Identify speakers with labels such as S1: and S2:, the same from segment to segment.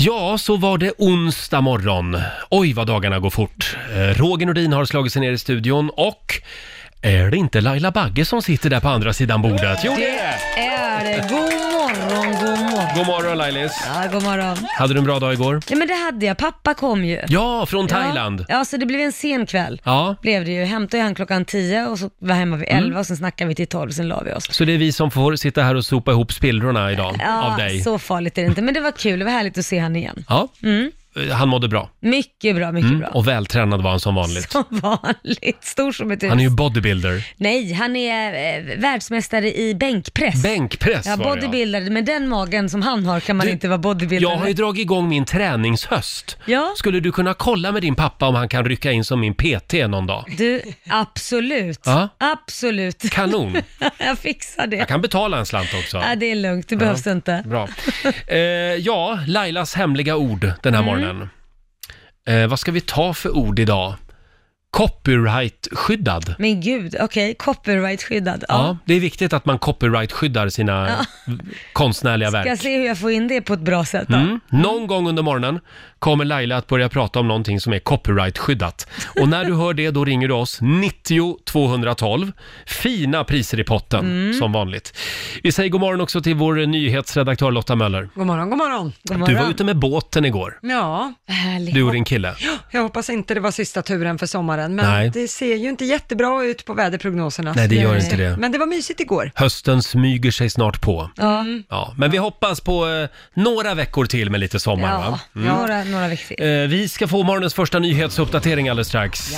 S1: Ja, så var det onsdag morgon. Oj, vad dagarna går fort. Eh, Roger Nordin har slagit sig ner i studion och är det inte Laila Bagge som sitter där på andra sidan bordet? Jo, det är det.
S2: är det. God morgon, god morgon.
S1: God morgon Lailis!
S2: Ja, god morgon.
S1: Hade du en bra dag igår?
S2: Ja, men det hade jag. Pappa kom ju.
S1: Ja, från Thailand.
S2: Ja, ja så det blev en sen kväll.
S1: Ja,
S2: Blev det ju. Hämtade han klockan 10 och så var jag hemma vid 11
S1: Mm.
S2: och sen snackade vi till 12 sen la vi oss.
S1: så det är vi som får sitta här och sopa ihop spillrorna idag
S2: Ja,
S1: av dig.
S2: så farligt är det inte. Men det var kul. Det var härligt att se han igen.
S1: Ja, Eh, han mådde bra.
S2: Mycket bra,
S1: Mm,
S2: mycket bra.
S1: Och vältränad var han som vanligt.
S2: Som vanligt. Stor som ett hus.
S1: Han är ju bodybuilder.
S2: Nej, han är eh, världsmästare i bänkpress.
S1: Bänkpress
S2: ja,
S1: var det ja.
S2: bodybuildare. Med den magen som han har kan man
S1: Du,
S2: inte vara bodybuildare.
S1: Jag har ju dragit igång min träningshöst.
S2: Ja.
S1: Skulle du kunna kolla med din pappa om han kan rycka in som min PT någon dag?
S2: Du, absolut.
S1: Ja.
S2: Absolut.
S1: Kanon!
S2: jag fixar det.
S1: Jag kan betala en slant också.
S2: Ja, det är lugnt, det behövs inte.
S1: Bra. Eh, ja, Lailas hemliga ord den här
S2: Mm.
S1: morgonen. Eh, vad ska vi ta för ord idag? Copyright-skyddad.
S2: Men gud, okej, copyright-skyddad.
S1: Ja.
S2: Ja.
S1: det är viktigt att man copyright-skyddar sina konstnärliga
S2: Ska jag
S1: verk.
S2: se hur jag får in det på ett bra sätt då?
S1: Mm. Någon gång under morgonen kommer Laila att börja prata om någonting som är copyright-skyddat. Och när du hör det, då ringer du oss 90 212. Fina priser i potten,
S2: Mm.
S1: som vanligt. Vi säger god morgon också till vår nyhetsredaktör Lotta Möller.
S3: God morgon, god morgon.
S2: God
S1: Du
S2: morgon.
S1: var ute med båten igår,
S3: Ja,
S2: Härligt.
S1: du och din kille.
S3: jag hoppas inte det var sista turen för sommaren, men
S1: Nej.
S3: det ser ju inte jättebra ut på väderprognoserna.
S1: Nej, det gör inte det.
S3: Men det var mysigt igår. Mm.
S1: Hösten smyger sig snart på.
S2: Ja,
S1: Ja, men vi hoppas på eh, några veckor till med lite sommar, va? Mm.
S2: ja. Några, några veckor till.
S1: Eh, Vi ska få morgonens första nyhetsuppdatering alldeles strax.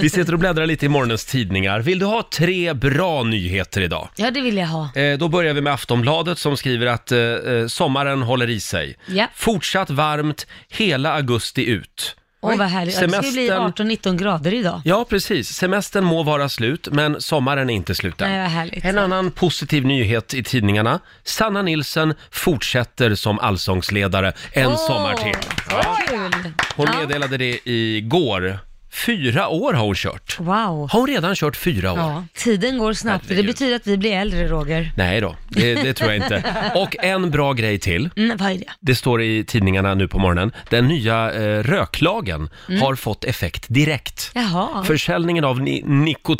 S1: Vi sitter och bläddrar lite i morgonens tidningar. Vill du ha tre bra nyheter idag?
S2: Ja, det vill jag ha.
S1: Eh, Då börjar vi med Aftonbladet som skriver att eh, eh, sommaren håller i sig.
S2: Ja.
S1: Fortsatt varmt hela augusti ut.
S2: Åh, vad härligt. Ja, Det ska ju bli
S1: Semestern-
S2: 18-19 grader idag.
S1: Ja, precis. Semestern må vara slut, men sommaren är inte slut än.
S2: Nej, vad härligt.
S1: En annan positiv nyhet i tidningarna. Sanna Nilsen fortsätter som allsångsledare en
S2: Åh,
S1: sommar till.
S2: vad Kul.
S1: Hon
S2: Ja.
S1: meddelade det igår. Fyra år har hon kört.
S2: Wow.
S1: Har hon redan kört fyra år?
S3: Ja.
S2: Tiden går snabbt. Det
S1: Herregud.
S2: betyder att vi blir äldre, Roger.
S1: Nej då, det, det tror jag inte. Och en bra grej till.
S2: Mm, vad är det?
S1: Det står i tidningarna nu på morgonen. Den nya eh, röklagen
S2: Mm.
S1: har fått effekt direkt.
S2: Jaha.
S1: Försäljningen av ni-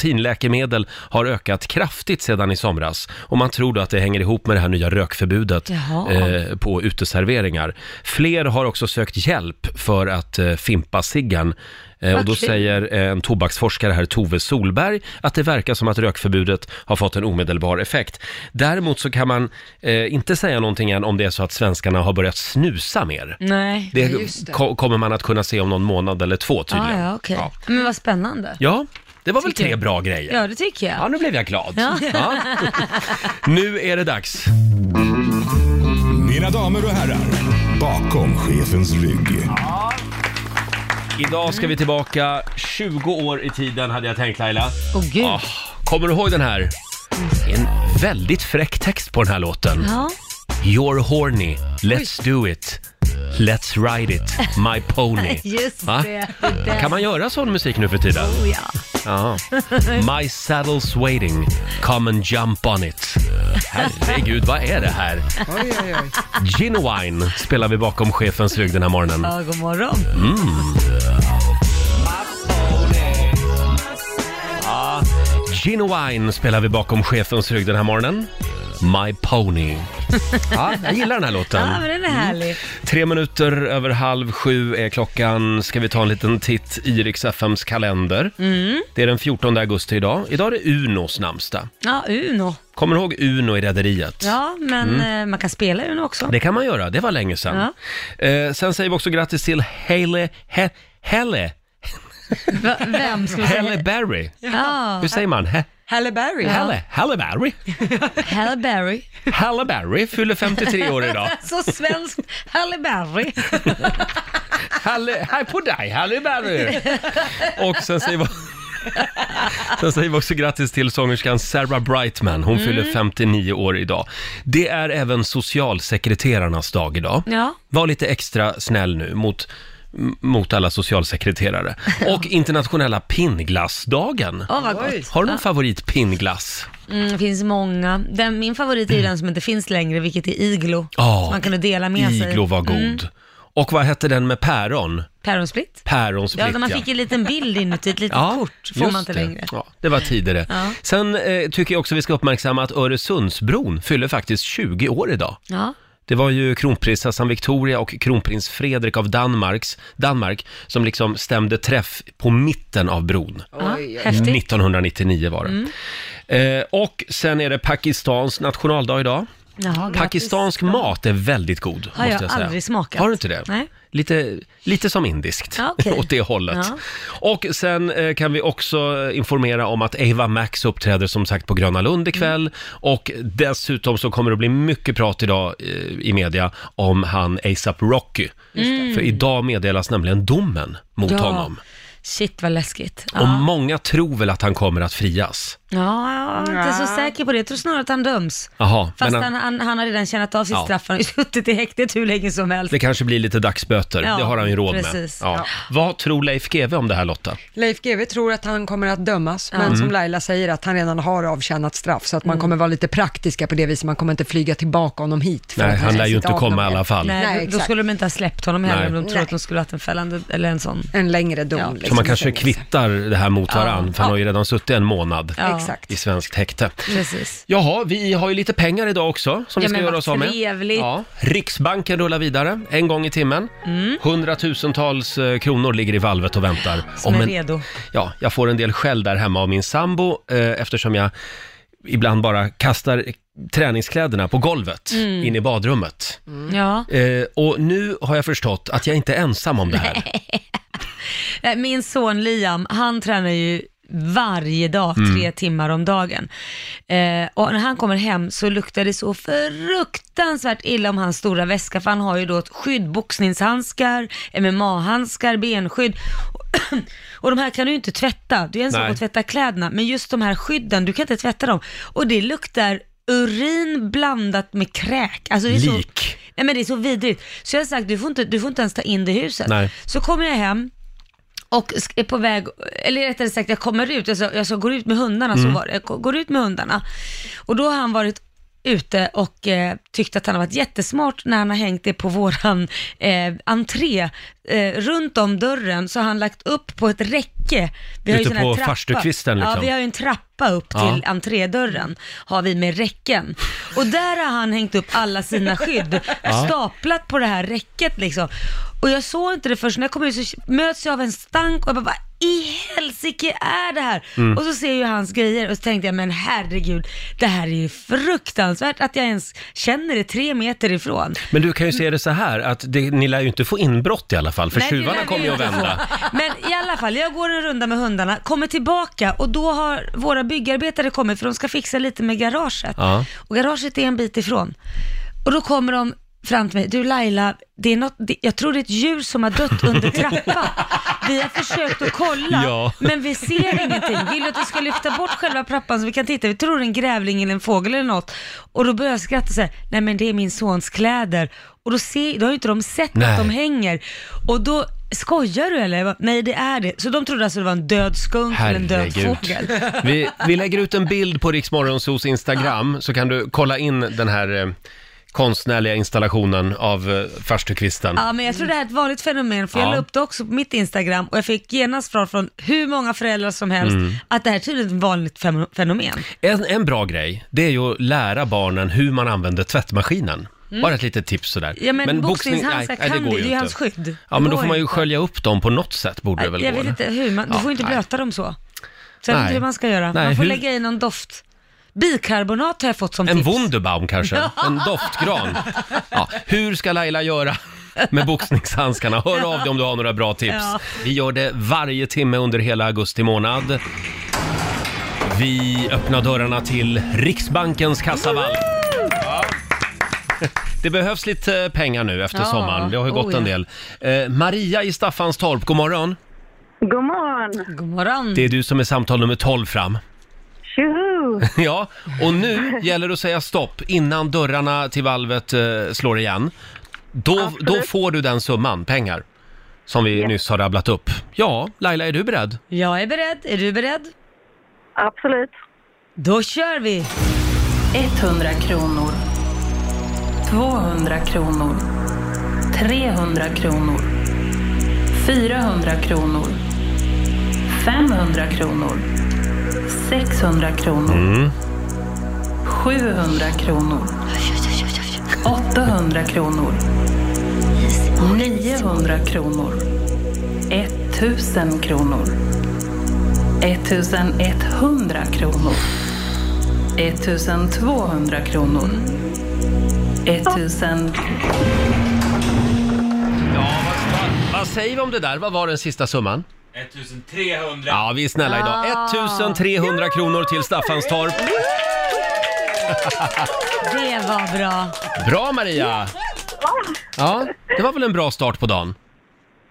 S1: nikotinläkemedel har ökat kraftigt sedan i somras och man tror då att det hänger ihop med det här nya rökförbudet
S2: Jaha.
S1: eh, på uteserveringar. Fler har också sökt hjälp för att eh, fimpa ciggen. Eh, och då
S2: Vad kul.
S1: säger eh, en tobaksforskare här, Tove Solberg, att det verkar som att rökförbudet har fått en omedelbar effekt. Däremot så kan man eh, inte säga någonting än om det är så att svenskarna har börjat snusa mer.
S2: Nej.
S1: Det,
S3: just det.
S1: ko- kommer man att kunna se om någon månad eller två
S2: Ah,
S1: tydligen.
S2: ja, okej.
S1: Ja.
S2: Men vad spännande.
S1: Ja, det var väl
S2: Tycker
S1: tre
S2: jag.
S1: bra grejer.
S2: Ja, det tycker jag.
S1: Ja, nu blev jag glad.
S2: Ja.
S1: Ja. Nu är det dags.
S4: Mina damer och herrar, bakom chefens rygg.
S1: Idag ska vi tillbaka 20 år i tiden hade jag tänkt Laila.
S2: Åh, gud.
S1: Ah, kommer du ihåg den här? Det är En väldigt fräck text på den här låten.
S2: Ja.
S1: You're horny, let's do it. Let's ride it, my pony.
S2: Just
S1: Va?
S2: det. det där.
S1: Kan man göra sån musik nu för tiden?
S2: Oh, ja.
S1: Ja. My saddle's waiting, come and jump on it. Herregud, vad är det här?
S3: Oj, oj, oj.
S1: Ginwine spelar vi bakom chefens rygg den här morgonen. Mm.
S2: ja, god morgon.
S1: Ginwine spelar vi bakom chefens rygg den här morgonen. My Pony. Ja, jag gillar den här låten.
S2: Ja, men den är härlig.
S1: Tre minuter över halv sju är klockan. Ska vi ta en liten titt i Rix FMs kalender?
S2: Mm.
S1: Det är den 14 augusti idag. Idag är det Unos namnsdag.
S2: Ja, Uno.
S1: Kommer du ihåg Uno i Rederiet?
S2: Ja, men
S1: Mm.
S2: eh, man kan spela Uno också.
S1: Det kan man göra, det var länge sedan. Eh, sen säger vi också grattis till Hailey... He, Helle...
S2: Va, vem ska vi
S1: Halle
S2: säga?
S1: Berry.
S2: Ja,
S1: Hur säger man? He,
S3: Halle Berry.
S1: Halle, Halle Berry?
S2: Halle Berry.
S1: Halle Berry fyller 53 år idag.
S2: Så svenskt Halle Berry.
S1: Halle, hej på dig Halle Berry! Och sen säger vi... Sen säger vi också grattis till sångerskan Sarah Brightman.
S2: Mm.
S1: Hon fyller 59 år idag. Det är även socialsekreterarnas dag idag.
S2: Ja.
S1: Var lite extra snäll nu mot, m- mot alla socialsekreterare. Och internationella pinnglassdagen.
S2: Åh, vad gott.
S1: Har du någon favorit pinnglass?
S2: Mm, det finns många. Den, min favorit är ju den som inte finns längre, vilket är Iglo.
S1: Ja,
S2: man kunde dela med sig.
S1: Iglo var god. Och vad hette den med päron?
S2: Päronsplitt.
S1: Päronsplitt,
S2: Ja, när man fick en liten bild inuti, ett litet kort, får
S1: just
S2: man inte
S1: det.
S2: längre.
S1: Ja, det var tider det.
S2: Ja.
S1: Sen eh, tycker jag också vi ska uppmärksamma att Öresundsbron fyller faktiskt 20 år idag.
S2: Ja.
S1: Det var ju kronprinsessan Victoria och kronprins Fredrik av Danmarks, Danmark som liksom stämde träff på mitten av bron.
S2: Ja, häftigt. Mm.
S1: 1999 var det. Eh, och sen är det Pakistans nationaldag idag.
S2: Jaha, grattis.
S1: Pakistansk mat är väldigt god,
S2: Har
S1: måste
S2: jag
S1: jag säga.
S2: aldrig smakat.
S1: Har du inte det?
S2: Nej.
S1: Lite, lite som indiskt,
S2: Ja, okej.
S1: åt det hållet.
S2: Ja.
S1: Och sen eh, kan vi också informera om att Ava Max uppträder som sagt på Gröna Lund ikväll.
S2: Mm.
S1: Och dessutom så kommer det bli mycket prat idag eh, i media om han ASAP Rocky. För idag meddelas nämligen domen mot
S2: Ja.
S1: honom.
S2: Shit vad läskigt.
S1: Och
S2: Ja.
S1: många tror väl att han kommer att frias.
S2: ja, jag är inte så säker på det. Jag tror snarare att han döms.
S1: Jaha,
S2: Fast
S1: men eh,
S2: han, han, han har redan tjänat av sitt
S1: Ja.
S2: straff, han har ju suttit i häktet hur länge som helst.
S1: det kanske blir lite dagsböter.
S2: Ja,
S1: det har han ju råd
S2: precis.
S1: med. Ja. Vad tror Leif GW om det här Lotta?
S3: Leif GW tror att han kommer att dömas,
S1: Mm.
S3: men som Laila säger att han redan har avtjänat straff, så att
S2: Mm.
S3: man kommer vara lite praktiska på det viset. Man kommer inte flyga tillbaka honom hit. för
S1: Nej,
S3: att
S1: han lär
S3: ska
S1: ju
S3: sitta
S1: inte
S3: av
S1: komma i
S3: någon
S1: alla fall.
S2: Nej,
S3: Nej,
S2: då- då
S3: exakt.
S2: skulle de inte ha släppt honom heller
S1: Nej.
S2: om de tror
S3: Nej.
S2: att de skulle ha haft en fällande eller en sån.
S3: En längre dom. liksom,
S1: Så man kanske
S3: i fängelse.
S1: kvittar det här mot varann, för han har ju redan suttit en månad
S2: Ja.
S3: Exakt.
S1: i svenskt häkte.
S2: Precis.
S1: Jaha, vi har ju lite pengar idag också som vi
S2: Ja,
S1: ska
S2: men
S1: göra
S2: vad
S1: oss av med.
S2: trevligt.
S1: Ja, Riksbanken rullar vidare en gång i timmen.
S2: Mm.
S1: Hundratusentals eh, kronor ligger i valvet och väntar.
S2: Som
S1: Om
S2: är
S1: en-
S2: redo.
S1: Ja, jag får en del skäll där hemma av min sambo eh, eftersom jag ibland bara kastar träningskläderna på golvet
S2: Mm.
S1: in i badrummet.
S3: Mm.
S2: Ja.
S1: Eh, och nu har jag förstått att jag inte är ensam om det här.
S2: Nej, Eh, Min son Liam, han tränar ju varje dag, tre
S1: Mm.
S2: timmar om dagen. Eh, och när han kommer hem så luktar det så fruktansvärt illa om hans stora väska, för han har ju då ett skydd, boxningshandskar, MMA-handskar, benskydd. Och de här kan du ju inte tvätta, det är en sak
S1: Nej.
S2: att tvätta kläderna, men just de här skydden, du kan inte tvätta dem. Och det luktar urin blandat med kräk. Alltså det är så,
S1: Lik.
S2: nej men det är så vidrigt. Så jag har sagt, du får inte, du får inte ens ta in det i huset.
S1: Nej.
S2: Så kommer jag hem, och sk- är på väg, eller rättare sagt jag kommer ut, jag ska, jag ska gå ut med hundarna,
S1: Mm.
S2: så var det. Jag går ut med hundarna. Och då har han varit ute och eh, tyckt att han har varit jättesmart när han har hängt det på våran eh, entré. Eh, runt om dörren så har han lagt upp på ett räcke. Vi har ju
S1: Ute
S2: sån här
S1: på
S2: trappa.
S1: farstukvisten
S2: Ja,
S1: liksom.
S2: vi har ju en trappa upp till
S1: Ja.
S2: entrédörren, har vi med räcken. Och där har han hängt upp alla sina skydd, staplat på det här räcket liksom. Och jag såg inte det först, när jag kom ut så möts jag av en stank och jag bara, vad i helsike är det här?
S1: Mm.
S2: Och så ser jag ju hans grejer och så tänkte jag, men herregud, det här är ju fruktansvärt att jag ens känner det tre meter ifrån.
S1: Men du kan ju se det så här att det, ni lär ju inte få inbrott i alla fall, för
S2: Nej, det lär
S1: tjuvarna
S2: vi
S1: kommer ju att
S2: inte få.
S1: vända.
S2: Men i alla fall, jag går en runda med hundarna, kommer tillbaka och då har våra byggarbetare kommit för de ska fixa lite med garaget.
S1: Ja.
S2: Och garaget är en bit ifrån. Och då kommer de fram till mig, du Laila, det är något, det, jag tror det är ett djur som har dött under trappan. Vi har försökt att kolla,
S1: Ja.
S2: men vi ser ingenting. Vill du att vi ska lyfta bort själva trappan så vi kan titta? Vi tror det är en grävling eller en fågel eller något. Och då börjar jag skratta och säga, nej men det är min sons kläder. Och då, ser, då har ju inte de sett
S1: Nej.
S2: att de hänger. Och då, skojar du eller? Jag bara, nej det är det. Så de trodde alltså det var en död skunk eller en
S1: Herregud.
S2: död fågel.
S1: Vi, vi lägger ut en bild på Riksmorgonsos Instagram så kan du kolla in den här eh, konstnärliga installationen av eh, farstukvisten.
S2: Ja, men jag tror det här är ett vanligt fenomen, för jag
S1: Ja.
S2: la upp det också på mitt Instagram och jag fick genast från, från hur många föräldrar som helst
S1: Mm.
S2: att det här är tydligen ett vanligt fem- fenomen.
S1: En, en bra grej, det är ju att lära barnen hur man använder tvättmaskinen. Bara ett litet tips sådär.
S2: Mm. Ja, men,
S1: boxning-
S2: boxningshandskar
S1: nej, nej,
S2: kan det,
S1: går
S2: det är ju
S1: inte.
S2: hans skydd.
S1: Ja, men
S2: Det
S1: då får
S2: går
S1: man ju
S2: inte.
S1: skölja upp dem på något sätt, borde det väl
S2: Nej, Jag
S1: gå.
S2: vet inte hur man, du
S1: Ja,
S2: får inte
S1: nej.
S2: blöta dem så. Så jag
S1: Nej.
S2: vet inte hur man ska göra.
S1: Nej,
S2: man får
S1: hur-
S2: lägga i någon doft. Bikarbonat har jag fått som
S1: En
S2: tips.
S1: Wunderbaum kanske, en doftgran. Ja, hur ska Laila göra med boxningshandskarna? Hör av dig om du har några bra tips.
S2: Ja.
S1: Vi gör det varje timme under hela augusti månad. Vi öppnar dörrarna till Riksbankens kassavalv. Ja. Det behövs lite eh, pengar nu efter
S2: Ja,
S1: sommaren. Det har ju
S2: oh
S1: gått en
S2: ja. Mm.
S1: del. Eh, Maria i Staffanstorp, god morgon.
S5: God morgon!
S2: God morgon.
S1: Det är du som är samtal nummer 12 fram.
S5: Tjoho!
S1: Ja, och nu gäller det att säga stopp innan dörrarna till valvet eh, slår igen. Då, då får du den summan pengar som vi nyss har rabblat upp. Ja, Laila, är du beredd?
S2: Jag är beredd. Är du beredd?
S5: Absolut.
S2: Då kör vi!
S6: 100 kronor. 200 kronor. 300 kronor. 400 kronor. 500 kronor. 600 kronor.
S1: Mm.
S6: 700 kronor. 800 kronor. 900 kronor. 1000 kronor. 1100 kronor. 1200 kronor. 1000...
S1: Vad säger vi om det där? Vad var den sista summan?
S7: 1300.
S1: Ja, vi är snälla idag. 1300 kronor till Staffanstorp.
S2: Det var bra.
S1: Bra Maria! Ja, det var väl en bra start på dagen?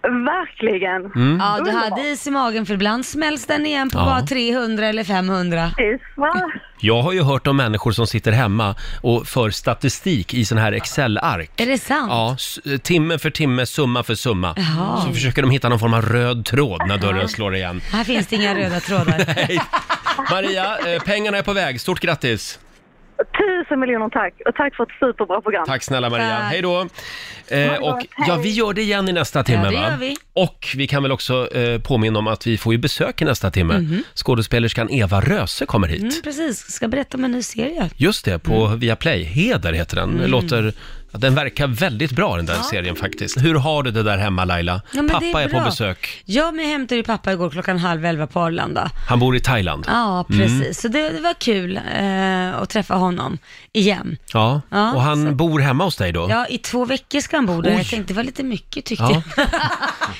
S1: Mm.
S5: Verkligen.
S2: Ja, du hade is i magen för ibland smälls den igen på
S1: Ja.
S2: bara 300 eller 500.
S5: Precis, va?
S1: Jag har ju hört om människor som sitter hemma och för statistik i sån här Excel-ark.
S2: Är det sant?
S1: Ja, s- timme för timme, summa för summa. Så försöker de hitta någon form av röd tråd när dörren slår igen.
S2: Här finns det inga röda trådar.
S1: Hej. Maria, eh, pengarna är på väg. Stort grattis!
S5: Tusen miljoner tack och tack för ett superbra program.
S1: Tack snälla Maria.
S2: Tack.
S1: Hej då! Eh, och, ja, vi gör det igen i nästa timme
S2: Ja, det
S1: va?
S2: gör vi.
S1: Och vi kan väl också eh, påminna om att vi får ju besök i nästa timme. Skådespelerskan Eva Röse kommer hit.
S2: Mhm. Mm, precis, ska berätta om en ny serie.
S1: Just det, på Viaplay. Heder heter den.
S2: Mm.
S1: Det Låter, ja, den verkar väldigt bra den där serien faktiskt. Hur har du det där hemma Laila?
S2: Ja, men det
S1: Pappa är, på
S2: bra.
S1: besök.
S2: Jag med hämtade ju pappa igår klockan halv elva på Arlanda.
S1: Han bor i Thailand. Mm.
S2: Ja, precis. Så det, det var kul eh, att träffa honom igen.
S1: Ja,
S2: Ja,
S1: och han
S2: så-
S1: bor hemma hos dig då?
S2: Ja, i två veckor ska han bo där.
S1: Oj.
S2: Jag tänkte det var lite mycket tyckte
S1: Ja.
S2: jag.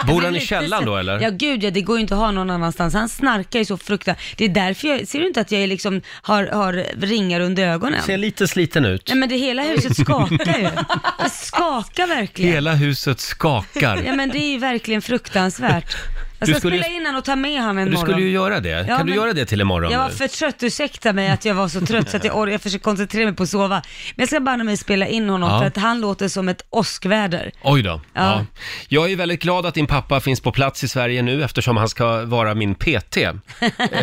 S1: Bor han
S2: Men
S1: i
S2: lite
S1: källaren
S2: så-
S1: då eller?
S2: Ja gud ja, det går ju inte att ha någon annanstans. Han snarkar ju så fruktansvärt. Det är därför jag, ser du inte att jag är liksom har, har ringar under ögonen?
S1: Ser lite sliten ut.
S2: Nej men det hela huset skakar ju. Det skakar verkligen.
S1: Hela huset skakar.
S2: Ja men det är ju verkligen fruktansvärt. Jag
S1: Du
S2: ska
S1: skulle ju-
S2: spela in han och ta med han en
S1: Du
S2: morgon.
S1: skulle ju göra det.
S2: Ja,
S1: kan du
S2: men-
S1: göra det till imorgon?
S2: Jag var
S1: nu?
S2: för trött, ursäkta mig att jag var så trött så att jag, or- jag försöker koncentrera mig på att sova. Men jag ska banne mig spela in honom
S1: Ja.
S2: för att han låter som ett åskväder.
S1: Oj då. Ja.
S2: Ja.
S1: Jag är väldigt glad att din pappa finns på plats i Sverige nu eftersom han ska vara min PT. Eh,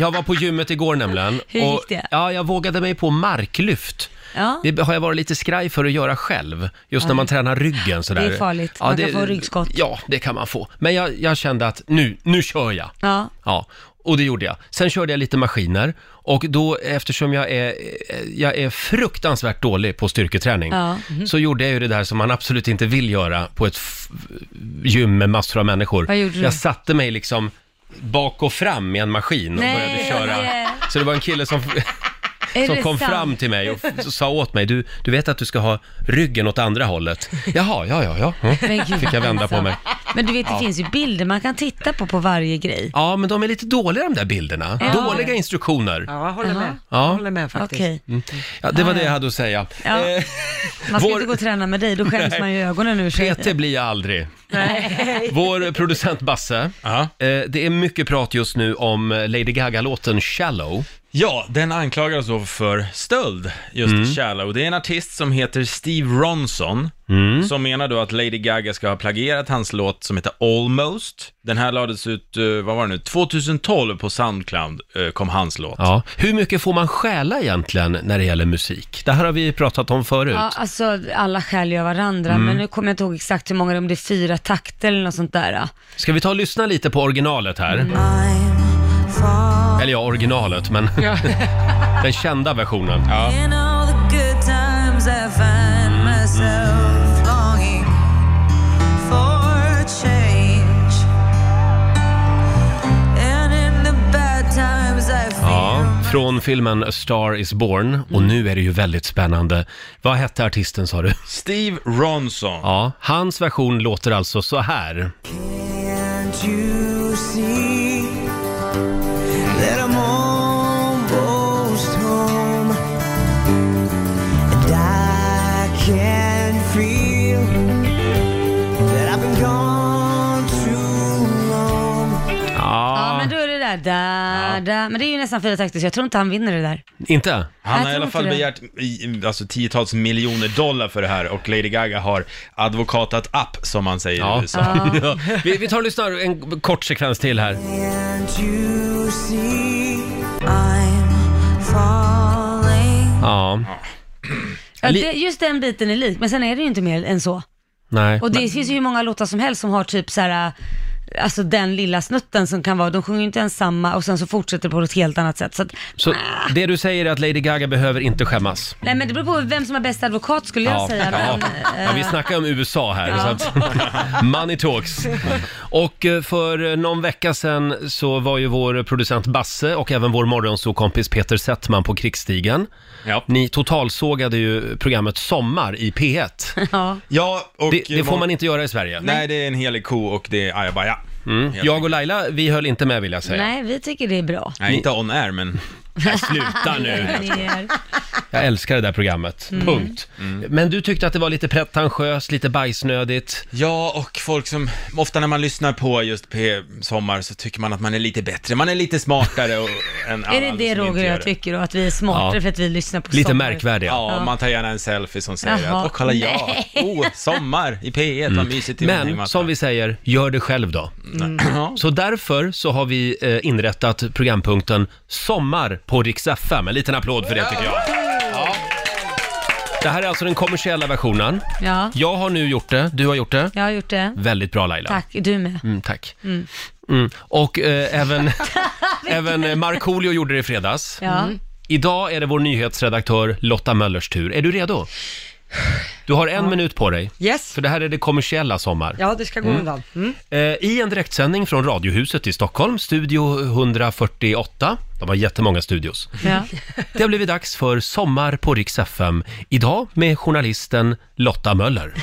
S1: jag var på gymmet igår nämligen.
S2: Hur gick
S1: och-
S2: det?
S1: Ja, jag vågade mig på marklyft.
S2: Ja.
S1: Det har jag varit lite skraj för att göra själv, just när man tränar ryggen sådär.
S2: Det är farligt. Man kan få ryggskott.
S1: Ja, det kan man få. Men jag, jag kände att nu, nu kör jag.
S2: Ja.
S1: Ja, och det gjorde jag. Sen körde jag lite maskiner och då, eftersom jag är, jag är fruktansvärt dålig på styrketräning,
S2: Ja.
S1: så gjorde jag ju det där som man absolut inte vill göra på ett f- gym med massor av människor.
S2: Vad gjorde du?
S1: Jag satte mig liksom bak och fram i en maskin och
S2: Nej,
S1: började köra.
S2: nej.
S1: Så det var en kille som,
S2: Är
S1: som
S2: det
S1: kom
S2: sant?
S1: fram till mig och f- sa åt mig, du, du vet att du ska ha ryggen åt andra hållet. Jaha, ja, ja, ja. Mm.
S2: Men gud, alltså.
S1: Fick jag vända på mig.
S2: Men du vet, det finns ju bilder man kan titta på på varje grej.
S1: Ja, men de är lite dåliga de där bilderna.
S2: Ja.
S1: Dåliga instruktioner.
S3: Ja, jag håller med.
S1: Ja. Mm.
S3: Jag håller med faktiskt.
S2: Okej.
S1: Ja, det var det jag hade att säga.
S2: Ja.
S1: Eh,
S2: Man ska
S1: Vår-
S2: inte gå och träna med dig, då skäms man ju i ögonen nu.
S1: PT blir jag aldrig. Vår producent Basse.
S7: Ja.
S1: Eh, det är mycket prat just nu om eh, Lady Gaga-låten Shallow.
S7: Ja, den anklagas då för stöld, just
S1: Mm.
S7: Shallow. Det är en artist som heter Steve Ronson,
S1: Mm.
S7: som menar då att Lady Gaga ska ha plagierat hans låt som heter Almost. Den här lades ut, eh, vad var det nu, 2012 på Soundcloud eh, kom hans låt.
S1: Ja. Hur mycket får man stjäla egentligen när det gäller musik? Det här har vi pratat om förut.
S2: Ja, alltså alla skäl ju av varandra,
S1: Mm.
S2: men nu kommer jag inte ihåg exakt hur många, om det är fyra takter eller något sånt där.
S1: Ska vi ta och lyssna lite på originalet här?
S2: Mm.
S1: Eller ja, originalet, men den kända versionen.
S8: In all the good times, I find myself longing for a change. And in the bad times, I
S1: Ja,
S8: feel.
S1: från filmen A Star Is Born.
S7: Mm.
S1: Och nu är det ju väldigt spännande. Vad hette artisten sa du?
S7: Steve Ronson.
S1: Ja, hans version låter alltså så här.
S8: Can't you see that I'm almost home? And I can feel that I've been gone too long.
S2: Ja, men då är det där, da, da. Men det är ju nästan fyra takter, så jag tror inte han vinner det där.
S1: Inte?
S7: Han
S2: Jag
S7: har i
S2: tror
S7: alla fall
S2: inte
S7: begärt i- alltså, tiotals miljoner dollar för det här och Lady Gaga har advokatat upp, som man säger i
S1: Ja.
S7: USA.
S1: Ja. Vi, vi tar och lyssnar en kort sekvens till här.
S8: Can't you see I'm falling?
S1: Ja.
S2: Ja,
S1: Li-
S2: det, just den biten är lik, men sen är det ju inte mer än så.
S1: Nej.
S2: Och det finns ju hur många låtar som helst som har typ så här, alltså den lilla snutten som kan vara, de sjunger ju inte ens samma och sen så fortsätter det på ett helt annat sätt. Så att,
S1: Så det du säger är att Lady Gaga behöver inte skämmas?
S2: nej men det beror på vem som är bäst advokat skulle jag säga.
S1: ja.
S2: Men, eh,
S1: ja, vi snackar om USA här. Så att, money talks. Och eh, för någon vecka sedan så var ju vår producent Basse och även vår morgonsåkompis Peter Settman på krigsstigen.
S7: Ja.
S1: Ni totalsågade ju programmet Sommar i P1.
S2: ja.
S7: ja och
S1: Det, det får man inte göra i Sverige.
S7: Nej, det är en helig ko och det är ajabaja.
S1: Mm. Jag och Laila, vi höll inte med vill jag säga.
S2: Nej, vi tycker det är bra.
S7: Nej, inte on air, men
S1: Nej, sluta nu!
S2: Det är-
S1: Jag älskar det där programmet,
S2: Mm.
S1: punkt.
S7: Mm.
S1: Men du tyckte att det var lite pretentiöst, lite bajsnödigt.
S7: Ja, och folk som, ofta när man lyssnar på just P Sommar så tycker man att man är lite bättre, man är lite smartare och, än alla
S2: Är det
S7: andra
S2: det
S7: som inte
S2: Roger
S7: gör
S2: jag
S7: det.
S2: tycker och att vi är smartare
S1: Ja.
S2: för att vi lyssnar på
S1: Lite
S2: sommar?
S1: märkvärdiga.
S7: Ja, man tar gärna en selfie som säger
S2: Jaha.
S7: att, åh kolla jag, oh, sommar i P1, vad mysigt det var en
S1: Mm. Men
S7: hängmatta."
S1: som vi säger, gör det själv då.
S7: Ja.
S1: Så därför så har vi eh, inrättat programpunkten Sommar på Rix FM. En liten applåd för det tycker jag. Ja. Det här är alltså den kommersiella versionen.
S2: Ja.
S1: Jag har nu gjort det, du har gjort det.
S2: Jag har gjort det.
S1: Väldigt bra Laila.
S2: Tack, du med.
S1: Mm, tack. Mm. Och eh, även, även eh, Markoolio gjorde det i fredags.
S2: Ja. Mm.
S1: Idag är det vår nyhetsredaktör Lotta Möllers tur. Är du redo? Du har en minut på dig,
S3: Yes,
S1: för det här är det kommersiella Sommar.
S3: ja det ska gå undan. Mm.
S1: Eh, I en direktsändning från Radiohuset i Stockholm, Studio 148. De har jättemånga studios.
S2: Ja.
S1: Det har blivit dags för Sommar på Rix FM. Idag med journalisten Lotta Möller.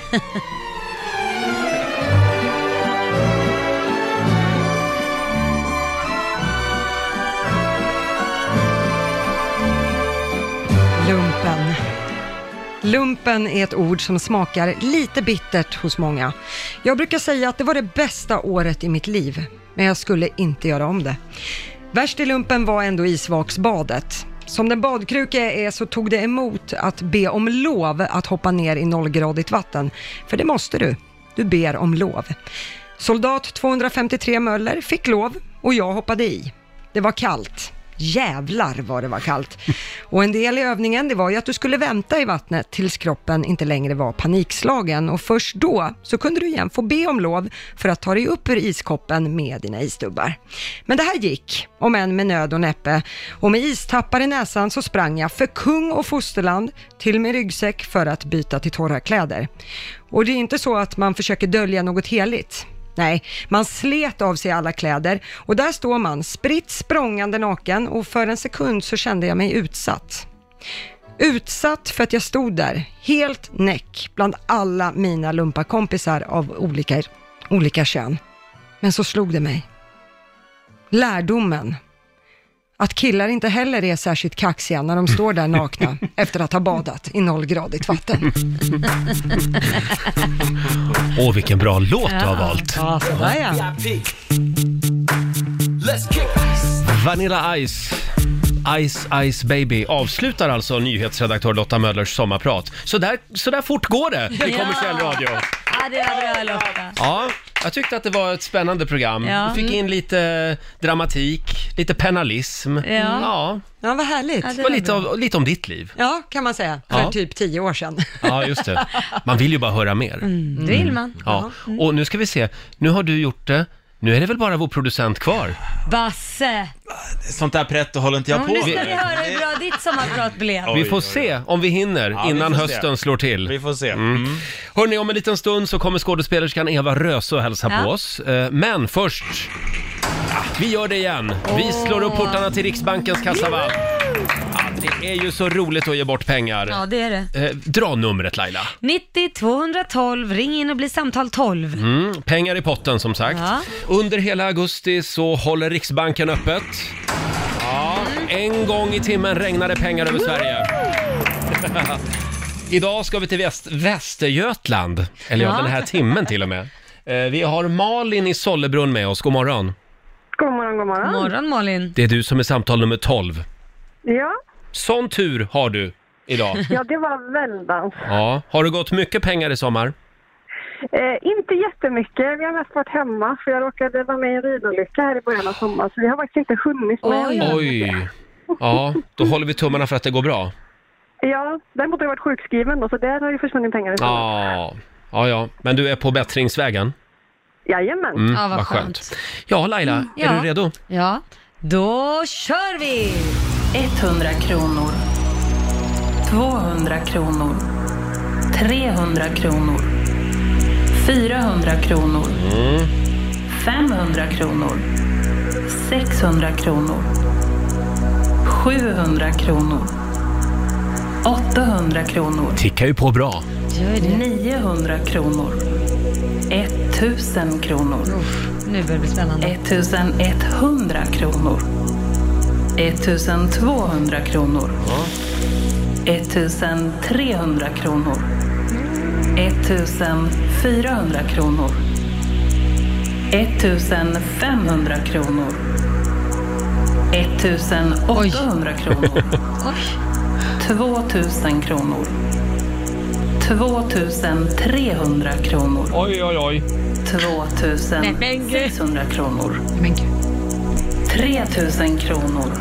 S3: Lumpen. Lumpen är ett ord som smakar lite bittert hos många. Jag brukar säga att det var det bästa året i mitt liv, men jag skulle inte göra om det. Värst i lumpen var ändå isvaksbadet. Som den badkruka jag är så tog det emot att be om lov att hoppa ner i nollgradigt vatten, för det måste du. Du ber om lov. Soldat 253 Möller fick lov och jag hoppade i. Det var kallt. Jävlar vad det var kallt. Och en del i övningen det var ju att du skulle vänta i vattnet tills kroppen inte längre var panikslagen och först då så kunde du igen få be om lov för att ta dig upp ur iskoppen med dina isdubbar. Men det här gick, om än med nöd och näppe och med istappar i näsan så sprang jag för kung och fosterland till min ryggsäck för att byta till torra kläder. Och det är inte så att man försöker dölja något heligt. Nej, man slet av sig alla kläder och där står man spritt språngande naken och för en sekund så kände jag mig utsatt. Utsatt för att jag stod där, helt näck, bland alla mina lumpakompisar av olika, olika kön. Men så slog det mig. Lärdomen. Att killar inte heller är särskilt kaxiga när de står där nakna efter att ha badat i nollgradigt vatten.
S1: Åh, vilken bra låt du har valt!
S3: Ja, sådär ja.
S1: Vanilla Ice. Ice Ice Baby avslutar alltså nyhetsredaktör Lotta Möllers sommarprat. Så där, så där fort går det i kommersiell radio.
S2: ja, det var bra Lotta.
S1: Ja, jag tyckte att det var ett spännande program.
S2: Ja.
S1: Vi fick in lite dramatik, lite penalism. Mm. Ja,
S3: Ja, vad härligt.
S2: Ja,
S1: det var lite, av, lite om ditt liv.
S3: Ja, kan man säga. För
S1: Ja.
S3: typ tio år sedan. Mm.
S1: Ja, just det. Man vill ju bara höra mer.
S2: Mm. Det vill man.
S1: Mm. Ja. Och nu ska vi se, nu har du gjort det. Nu är det väl bara vår producent kvar?
S2: Basse!
S7: Sånt där pretto håller inte jag
S2: Ja,
S7: på
S2: nu ska
S7: med.
S2: vi höra hur bra ditt sommarprat blev.
S7: Ja.
S1: Vi
S7: Oj,
S1: får
S7: oj, oj.
S1: se om vi hinner
S7: vi
S1: innan
S7: får se.
S1: hösten slår till. Mm.
S7: Vi får se. Mm.
S1: Hörni, om en liten stund så kommer skådespelerskan Eva Röse och hälsa
S2: Ja.
S1: på oss. Eh, Men först, ah, vi gör det igen. Vi slår upp portarna till Riksbankens kassavalv. Ja, det är ju så roligt att ge bort pengar.
S2: Ja, det är det.
S1: Eh, dra numret Laila.
S2: 90 212, ring in och bli samtal 12.
S1: Mm, pengar i potten som sagt.
S2: Ja.
S1: Under hela augusti så håller Riksbanken öppet. Ja, en gång i timmen regnar det pengar över Sverige. Idag ska vi till väst- Västergötland, eller ja.
S2: Ja.
S1: den här timmen till och med. Eh, Vi har Malin i Sollebrunn med oss, god morgon.
S5: God morgon, god morgon.
S2: God morgon Malin.
S1: Det är du som är samtal nummer 12.
S5: Ja.
S1: Sån tur har du idag.
S5: ja, det var väldans.
S1: Ja, har det gått mycket pengar i sommar?
S5: Eh, inte jättemycket. Vi har mest varit hemma för jag råkade vara med i en ridolycka här i början av sommaren så vi har faktiskt inte hunnit med.
S2: Oj.
S1: Oj! Ja, då håller vi tummarna för att det går bra.
S5: Ja, däremot har jag varit sjukskriven då, så där har ju försvunnit pengar. i sommar.
S1: Ja, Ja, ja. Men du är på bättringsvägen? Mm,
S5: Jajamän.
S2: Ja, vad skönt. Mm,
S1: Ja, Laila, är
S2: ja.
S1: du redo?
S2: Ja, då kör vi!
S6: 100 kronor. 200 kronor. 300 kronor. 400 kronor.
S1: Mm.
S6: 500 kronor. 600 kronor. 700 kronor. 800 kronor.
S1: Tickar ju på bra.
S2: Gör det.
S6: 900 kronor. 1000 kronor.
S2: Uff, nu börjar det bli spännande.
S6: 1100 kronor. 1200 kronor. 1300 kronor. 1400 kronor. 1500 kronor. 1800 kronor. 2000 kronor. 2300 kronor.
S1: Oj, oj, oj.
S6: 2600 kronor.
S3: Men gud.
S6: 3000 kronor.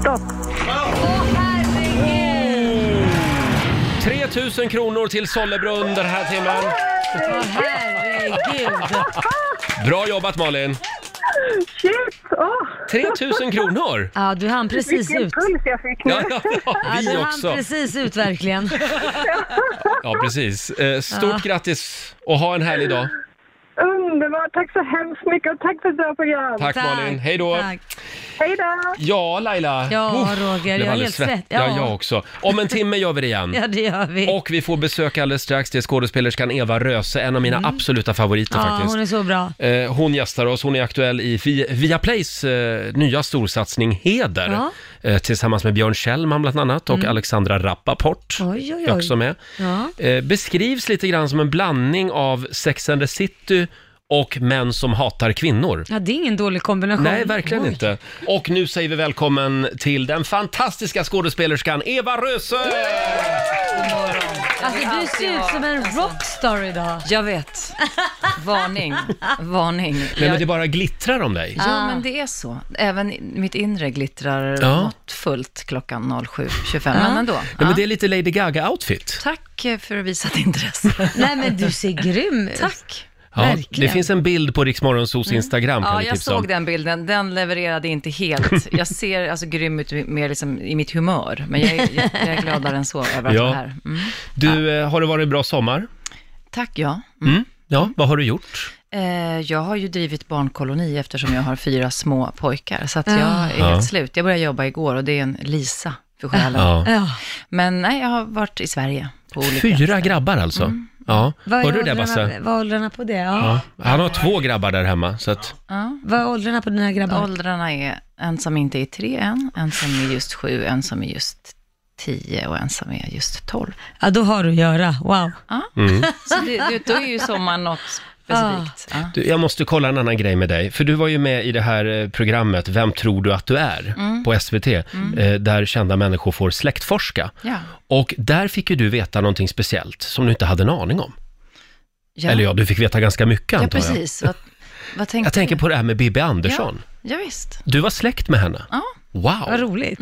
S5: Stopp.
S1: 3 000 kronor till Sollebrunn den här timmen.
S2: Åh, herregud.
S1: Bra jobbat Malin!
S5: Shit! Åh,
S1: 3 000 kronor!
S2: Ja, du hann precis
S5: vilken
S2: ut.
S5: puls jag fick nu.
S1: Ja, ja, ja,
S2: Ja,
S1: vi
S2: du hann
S1: också.
S2: precis ut verkligen.
S1: Ja, precis. Eh, Stort grattis och ha en härlig dag.
S5: Underbart! Tack så hemskt mycket och tack för ett bra program.
S1: Tack, Malin. Hej då.
S2: Tack.
S5: Hej då!
S1: Ja, Laila.
S2: Ja,
S1: Uff,
S2: Roger,
S1: Ah, oh, blev
S2: jag är
S1: alldeles
S2: helt svett.
S1: Ja.
S2: Ja.
S1: jag också. Om en timme gör vi det igen.
S2: Ja, det gör vi.
S1: Och vi får besök alldeles strax. Det är skådespelerskan Eva Röse, en av mina absoluta favoriter
S2: Mm. ja,
S1: faktiskt.
S2: hon är så bra.
S1: Eh, Hon gästar oss, hon är aktuell i Vi- Viaplays eh, nya storsatsning Heder.
S2: Ja. Mm.
S1: Eh, tillsammans med Björn Kjellman bland annat och Alexandra Rappaport
S2: Oj, oj,
S1: är
S2: oj.
S1: också med.
S2: Ja.
S1: Eh, beskrivs lite grann som en blandning av Sex and the City och Män som hatar kvinnor.
S2: Ja, det är ingen dålig kombination.
S1: Nej, verkligen
S2: Oj.
S1: inte. Och nu säger vi välkommen till den fantastiska skådespelerskan Eva Röse!
S2: Alltså, du ser ut som en rockstar idag.
S9: Jag vet. Varning. Varning.
S1: Nej, men
S9: Jag-
S1: det bara glittrar om dig.
S9: Jo, men det är så. Även i- mitt inre glittrar
S1: Ja.
S9: måttfullt klockan 07.25, men ändå.
S1: Nej, men
S9: Ja.
S1: det är lite Lady Gaga-outfit.
S9: Tack eh, för visat intresse.
S2: Nej, men du ser grym ut.
S9: Tack.
S1: Ja,
S2: Verkligen. Mm.
S1: det finns en bild på Riksmorgonsos Instagram kan
S9: Ja,
S1: vi
S9: jag
S1: tipsa om.
S9: såg den bilden. Den levererade inte helt. Jag ser alltså grym ut mer liksom i mitt humör, men jag är, jag, jag är gladare än så över att
S1: Ja.
S9: vara här. Mm.
S1: Du, eh, har det varit en bra sommar?
S9: Tack, ja.
S1: Mm. Ja, vad har du gjort?
S9: Eh, jag har ju drivit barnkoloni eftersom jag har fyra små pojkar, så att jag är
S1: Ah. Ja.
S9: helt slut. Jag började jobba igår och det är en Lisa för själen.
S2: Ja.
S9: Men nej, jag har varit i Sverige på olika... Mm.
S1: Fyra grabbar alltså? Ja.
S2: Vad är
S1: Hörde du det
S2: åldrarna-
S1: Basse?
S2: Vad är åldrarna på det? Ja.
S1: Ja. Han har två grabbar där hemma, så att...
S9: Ja.
S2: Vad är åldrarna på dina grabbar?
S9: Åldrarna är en som inte är tre än, en som är just sju, en som är just tio och en som är just tolv.
S2: Ja, då har du att göra. Wow.
S9: Ja.
S1: Mm.
S9: Så det, det, då är ju sommaren något specifikt. Ja.
S1: Du, jag måste kolla en annan grej med dig, för du var ju med i det här eh, programmet Vem tror du att du är?
S9: Mm.
S1: på SVT, eh, där kända människor får släktforska.
S9: Ja.
S1: Och där fick ju du veta någonting speciellt som du inte hade en aning om.
S9: Ja.
S1: Eller ja, du fick veta ganska mycket
S9: ja,
S1: antar jag.
S9: precis. Vad, vad tänkte
S1: Jag tänker
S9: du?
S1: på det här med Bibi Andersson.
S9: Ja, visst.
S1: Du var släkt med henne.
S9: Ja.
S2: Vad
S1: Wow,
S2: roligt.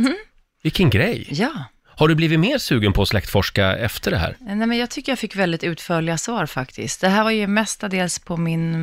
S1: vilken grej!
S9: Ja.
S1: Har du blivit mer sugen på att släktforska efter det här?
S9: Nej, men jag tycker jag fick väldigt utförliga svar faktiskt. Det här var ju mestadels på min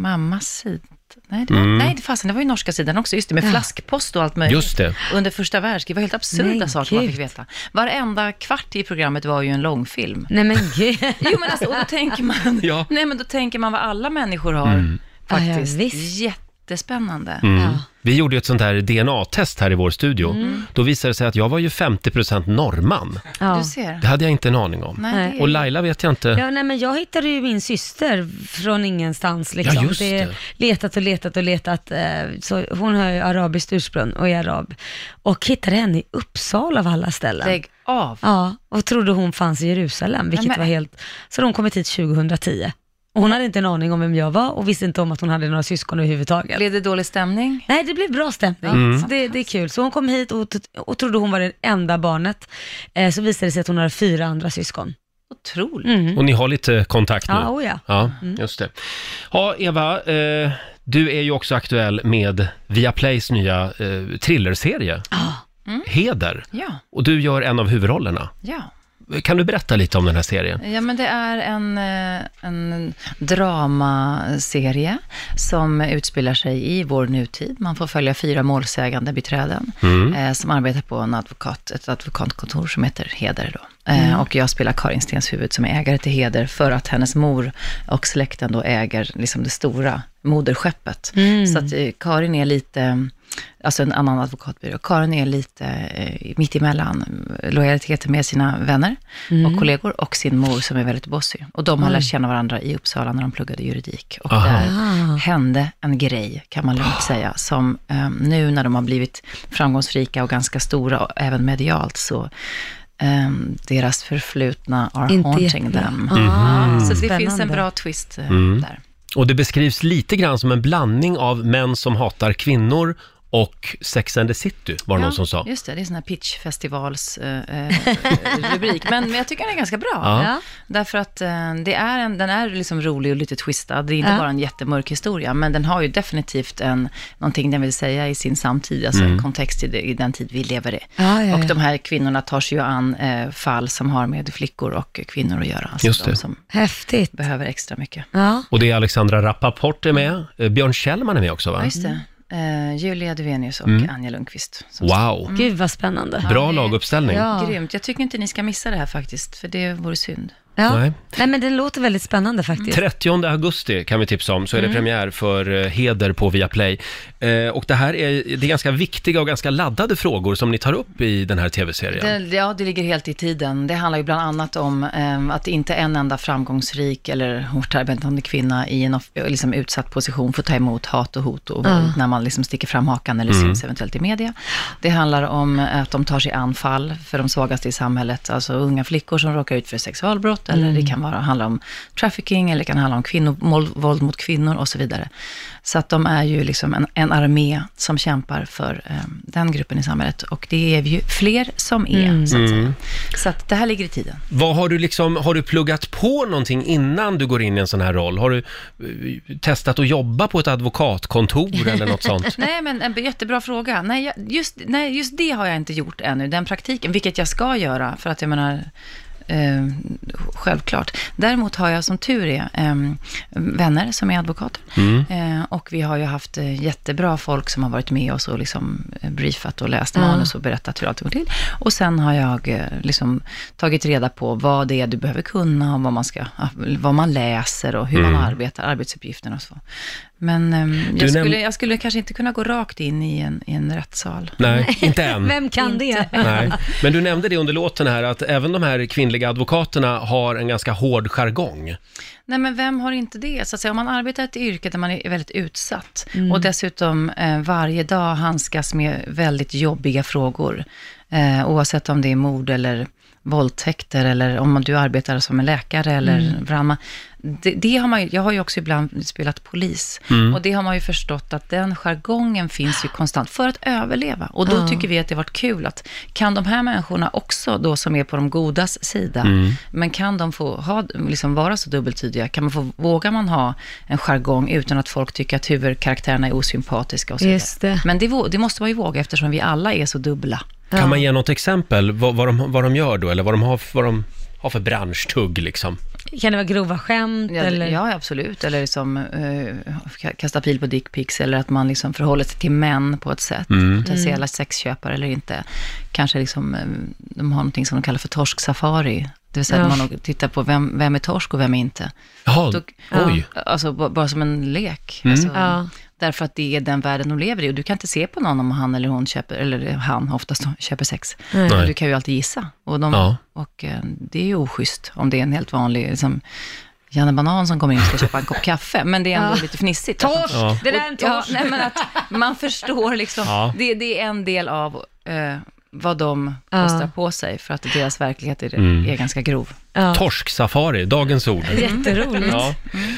S9: mammas sida. Nej, det var, nej, det fasen, det var ju norska sidan också. Just det, med flaskpost och allt möjligt.
S1: Mm. Just det.
S9: Under första världskriget. Det var helt absurda
S2: Nej,
S9: saker man
S2: gud.
S9: fick veta. Varenda kvart i programmet var ju en långfilm.
S2: Nej men gud.
S9: Jo, men alltså, och då tänker man,
S1: Ja. Mm.
S9: nej, men då tänker man vad alla människor har faktiskt.
S2: Ja, ja, visst.
S9: Jättespännande.
S2: Ja. Mm.
S1: Vi gjorde ju ett sånt här DNA-test här i vår studio. Då visade det sig att jag var ju 50% norrman.
S2: Ja.
S9: Du ser.
S1: Det hade jag inte en aning om.
S9: Nej, det är-
S1: Och Laila vet jag inte.
S2: Ja, nej, men jag hittade ju min syster från ingenstans. Liksom.
S1: Ja, just det.
S2: är letat och letat och letat. eh, Så hon har ju arabiskt ursprung och är arab. Och hittade henne i Uppsala av alla ställen.
S9: Lägg av.
S2: Ja, och trodde hon fanns i Jerusalem, vilket
S9: Nej, men-
S2: var helt... Så hade hon kommit hit 2010. Och hon hade inte en aning om vem jag var och visste inte om att hon hade några syskon överhuvudtaget.
S9: Blev det dålig stämning?
S2: Nej, det blev bra stämning.
S1: Mm.
S2: Så det, det är kul. Så hon kom hit och, t- och trodde hon var det enda barnet. Eh, så visade det sig att hon hade fyra andra syskon. Mm.
S9: Otroligt.
S1: Och ni har lite kontakt nu?
S2: Ja, oh ja.
S1: Ja, just det. Ja, Eva, eh, du är ju också aktuell med Viaplays nya eh, thrillerserie. Heder.
S9: Ja,
S1: Och du gör en av huvudrollerna.
S9: ja.
S1: kan du berätta lite om den här serien?
S9: Ja, men det är en, eh, en dramaserie som utspelar sig i vår nutid. Man får följa fyra målsägande biträden eh, som arbetar på en advokat, ett advokatkontor som heter Heder. Då. Eh, Och jag spelar Karin Stenshuvud som är ägare till Heder för att hennes mor och släkten då äger liksom det stora moderskeppet. Så att eh, Karin är lite alltså en annan advokatbyrå. Karin är lite eh, mittemellan lojaliteten med sina vänner
S2: Mm.
S9: och kollegor och sin mor som är väldigt bossig. Och de har lärt känna varandra i Uppsala när de pluggade juridik. Och
S1: Aha.
S9: där hände en grej, kan man lugnt säga, som eh, nu när de har blivit framgångsrika och ganska stora, och även medialt, så eh, deras förflutna are
S2: Inte
S9: haunting
S2: jättebra.
S9: them.
S6: Mhm.
S2: Ah,
S9: Så att det
S2: spännande.
S9: finns en bra twist eh, där.
S1: Mm. Och det beskrivs lite grann som en blandning av män som hatar kvinnor och Sex and the City, var det någon som sa.
S9: Just det, det är sån här pitchfestivals eh, eh, rubrik. Men, men jag tycker den är ganska bra.
S1: Ja.
S2: Ja.
S9: Därför att eh, det är en, den är liksom rolig och lite twistad. Det är inte
S2: Ja.
S9: bara en jättemörk historia, men den har ju definitivt en, någonting den vill säga i sin samtid, alltså
S1: Mm.
S9: en kontext i, det, i den tid vi lever i.
S2: Ja, ja,
S9: och
S2: ja.
S9: de här kvinnorna tar sig ju an eh, fall som har med flickor och kvinnor att göra. Alltså
S1: Just det.
S9: de som
S2: Häftigt.
S9: behöver extra mycket.
S2: Ja.
S1: Och det är Alexandra Rappaport är med, Eh, Björn Kjellman är med också
S9: Ja,
S1: va?
S9: just det.
S1: Mm.
S9: Eh, Julia Duvenius och Anja Lundqvist. som
S1: Wow,
S2: Gud vad spännande.
S1: Mm. bra
S9: det-
S1: laguppställning.
S2: Ja.
S9: Grymt. Jag tycker inte ni ska missa det här faktiskt, för det vore synd.
S2: Ja.
S1: Nej.
S2: Nej. men den låter väldigt spännande faktiskt.
S1: 30 augusti kan vi tipsa om, så är
S9: Mm.
S1: det premiär för eh, Heder på Viaplay. Eh, och det här är, det är ganska viktiga och ganska laddade frågor som ni tar upp i den här tv-serien.
S9: Det, ja, det ligger helt i tiden. Det handlar ju bland annat om eh, att inte en enda framgångsrik eller hårt arbetande kvinna i en off- liksom, utsatt position får ta emot hat och hot och våld när man liksom sticker fram hakan eller syns eventuellt i media. Det handlar om att de tar sig an fall för de svagaste i samhället, alltså unga flickor som råkar ut för sexualbrott,
S2: Mm.
S9: eller det kan vara, handla om trafficking, eller det kan handla om kvinnovåld våld mot kvinnor och så vidare. Så att de är ju liksom en, en armé som kämpar för eh, den gruppen i samhället. Och det är vi ju fler som är,
S1: Mm.
S9: så att säga. Så att det här ligger i tiden.
S1: Vad har du liksom, har du pluggat på någonting innan du går in i en sån här roll? Har du eh, testat att jobba på ett advokatkontor eller något sånt?
S9: Nej, men en jättebra fråga. Nej, jag- just, nej, just det har jag inte gjort ännu, den praktiken, vilket jag ska göra, för att jag menar, eh, självklart. Däremot har jag som tur är eh, vänner som är advokater.
S1: Mm.
S9: Eh, och vi har ju haft eh, jättebra folk som har varit med oss och liksom eh, briefat och läst manus och berättat hur allt går till. Och sen har jag eh, liksom tagit reda på vad det är du behöver kunna och vad man, ska, vad man läser och hur
S1: Mm.
S9: man arbetar, arbetsuppgifterna och så. Men ehm, jag,
S1: näm-
S9: skulle, jag skulle kanske inte kunna gå rakt in i en, i en rättssal.
S1: Nej, inte än.
S2: Vem kan det?
S1: Nej. Men du nämnde det under låten här att även de här kvinnliga advokaterna har en ganska hård jargong.
S9: Nej, men vem har inte det? Så att säga, om man arbetar i ett yrke där man är väldigt utsatt och dessutom eh, varje dag handskas med väldigt jobbiga frågor, eh, oavsett om det är mord eller våldtäkter eller om du arbetar som en läkare eller brandman. Det, det har man ju, jag har ju också ibland spelat polis och det har man ju förstått att den jargongen finns ju konstant för att överleva. Och då tycker vi att det har varit kul att kan de här människorna också då som är på de godas sida, men kan de få ha, liksom vara så dubbeltydiga? Kan man få, vågar man ha en jargong utan att folk tycker att huvudkaraktärerna är osympatiska och så vidare?
S2: Just det.
S9: Men det, vå- det måste man ju våga eftersom vi alla är så dubbla.
S1: Kan man ge något exempel vad, vad, de, vad de gör då eller vad de har, vad de har för branschtugg liksom?
S2: Kan det vara grova skämt
S9: Ja,
S2: eller?
S9: ja absolut. Eller liksom eh, ka- kasta pil på dickpics eller att man liksom förhåller sig till män på ett sätt.
S1: Mm.
S2: Mm.
S9: Potentiella sexköpare eller inte. Kanske liksom, eh, de har någonting som de kallar för torsksafari. Det vill säga
S2: Ja.
S9: att man tittar på vem, vem är torsk och vem är inte.
S1: Jaha,
S9: Då-
S1: oj. Mm.
S9: Alltså b- bara som en lek. Alltså,
S2: Ja.
S9: Därför att det är den världen de lever i och du kan inte se på någon om han eller hon köper, eller han oftast köper sex.
S1: Nej.
S9: Du kan ju alltid gissa. Och, de,
S1: Ja.
S9: och eh, det är ju oschysst om det är en helt vanlig, liksom, Janne Banan som kommer in och ska köpa en kopp kaffe, men det är ändå lite Alltså, fnissigt.
S2: Torsk!
S1: Ja.
S2: Ah. Det där är en
S9: Ja,
S2: torsk.
S9: nej, men att man förstår liksom,
S1: Ja.
S9: det, det är en del av eh, vad de
S2: Ja.
S1: Mm.
S9: kostar på sig, för att deras verklighet är, är ganska grov.
S2: Ja.
S1: Torsksafari, dagens ord.
S2: Jätteroligt.
S1: Ja.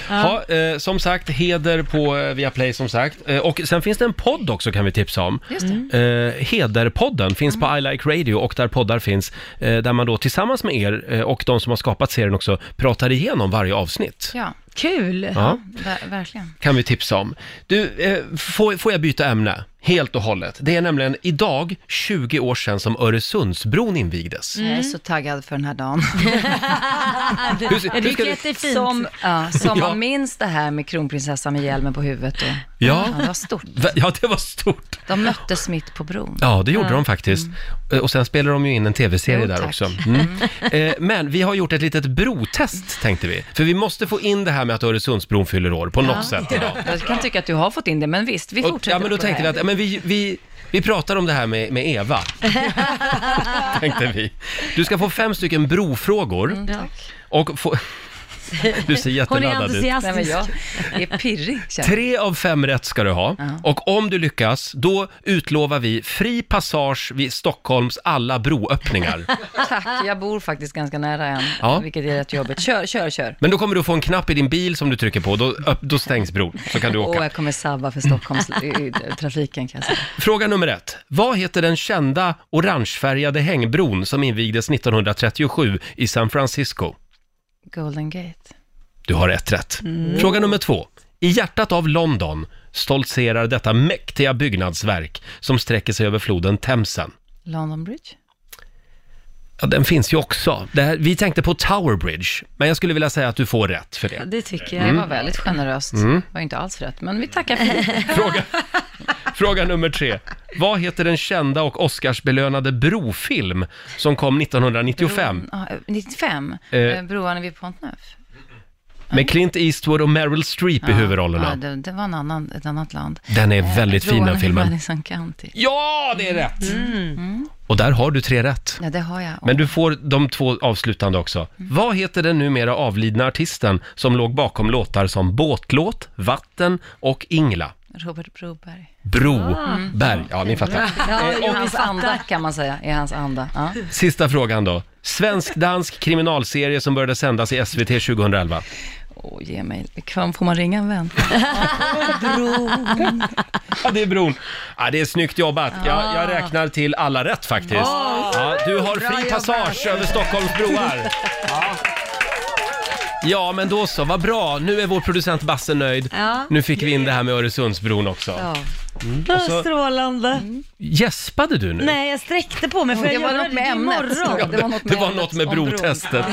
S1: Ha, eh, som sagt, heder på eh, Viaplay som sagt. Eh, och sen finns det en podd också kan vi tipsa om.
S9: Just det.
S1: Eh, Hederpodden finns på I Like Radio och där poddar finns. Eh, där man då tillsammans med er eh, och de som har skapat serien också pratar igenom varje avsnitt.
S9: Ja,
S2: Kul.
S1: Ja,
S9: ver- verkligen.
S1: kan vi tipsa om. Du, eh, får, får jag byta ämne? Helt och hållet. Det är nämligen idag 20 år sedan som Öresundsbron invigdes.
S2: Mm.
S9: Jag är så taggad för den här dagen.
S1: Hur ser-
S2: Jag
S1: hur
S2: tycker
S1: ska du-
S2: jättefint.
S9: Som, ja, som
S1: Ja.
S9: man minns det här med kronprinsessan med hjälmen på huvudet. Och,
S1: Ja.
S9: det var stort.
S1: Va- Ja, det var stort.
S9: De möttes mitt på bron. Mm.
S1: Ja, det gjorde de faktiskt. Eh, Och sen spelade de ju in en tv-serie
S9: Jo,
S1: där
S9: tack.
S1: också. Mm. Eh, Men vi har gjort ett litet brotest, tänkte vi. För vi måste få in det här med att Öresundsbron fyller år, på något sätt idag.
S9: Jag kan tycka att du har fått in det, men visst, vi
S1: Och,
S9: fortsätter
S1: ja, men då
S9: på
S1: tänkte vi
S9: det
S1: att
S9: här.
S1: ja, men vi, vi, vi pratar om det här med, med Eva. tänkte vi. Du ska få fem stycken brofrågor.
S9: Mm,
S1: och få... Du ser
S2: Hon är
S1: jätteladdad ut.
S9: Nej, men
S2: entusiastisk.
S9: jag är pirrig, känner jag.
S1: Tre av fem rätt ska du ha. Och om du lyckas, då utlovar vi fri passage vid Stockholms alla broöppningar.
S9: Tack, jag bor faktiskt ganska nära en,
S1: Ja.
S9: vilket är rätt jobbigt. Kör, kör, kör.
S1: Men då kommer du få en knapp i din bil som du trycker på, då, öpp- då stängs bron. Så kan du
S9: Åh,
S1: åka.
S9: jag kommer sabba för Stockholms i- i- trafiken kan jag säga.
S1: Fråga nummer ett. Vad heter den kända orangefärgade hängbron som invigdes 1937 i San Francisco?
S9: Golden Gate.
S1: Du har ett rätt.
S2: Mm.
S9: Mm.
S1: Fråga nummer två. I hjärtat av London stoltserar detta mäktiga byggnadsverk som sträcker sig över floden Themsen.
S9: London Bridge.
S1: Ja, den finns ju också. Det här, vi tänkte på Tower Bridge, men jag skulle vilja säga att du får rätt för det.
S2: Det tycker
S9: Det
S2: jag.
S1: Mm.
S9: var väldigt generöst. var ju inte alls rätt, men vi tackar för det.
S1: Fråga, fråga nummer tre. Vad heter den kända och Oscarsbelönade brofilm som kom 1995
S9: Ja, 95,
S1: Eh.
S9: eh, broarna vid Pont-Neuf.
S1: med Clint Eastwood och Meryl Streep i
S9: Ja,
S1: huvudrollerna?
S9: det, det var en annan, ett annat land.
S1: Den är väldigt fin den
S9: Broarna vid
S1: filmen.
S9: Madison County. Mm.
S1: Ja, det är rätt!
S2: Mm.
S1: Och där har du tre rätt.
S9: Ja, Mm. det har jag.
S1: Men du får de två avslutande också. Vad heter den numera avlidna artisten som låg bakom låtar som Båtlåt, Vatten och Ingla?
S9: Robert Broberg. Ah.
S1: Broberg. Ja, ni fattar.
S9: Ja,
S1: Eh,
S9: i hans anda kan man säga, i hans anda. Ja.
S1: Sista frågan då. Svensk-dansk kriminalserie som började sändas i SVT 2011.
S9: Åh, ge mig, kan, får man ringa en vän?
S1: Ja, det är bron. Ja, det är snyggt jobbat. Jag, jag räknar till alla rätt faktiskt. Ja, du har fri passage över Stockholms broar. Ja. Ja, men då så, vad bra. Nu är vår producent Basse nöjd.
S2: Ja.
S1: Nu fick vi in det här med Öresundsbron också. Mm.
S2: Ja, Strålande.
S1: Gäspade du Mm. nu?
S2: Nej, jag sträckte på mig för
S9: Det
S2: jag
S9: var
S2: göra
S9: något med
S2: det
S9: ämnet.
S2: imorgon.
S9: Det var något med,
S1: Det var
S9: ämnet
S1: något med
S9: om bron.
S1: brotestet.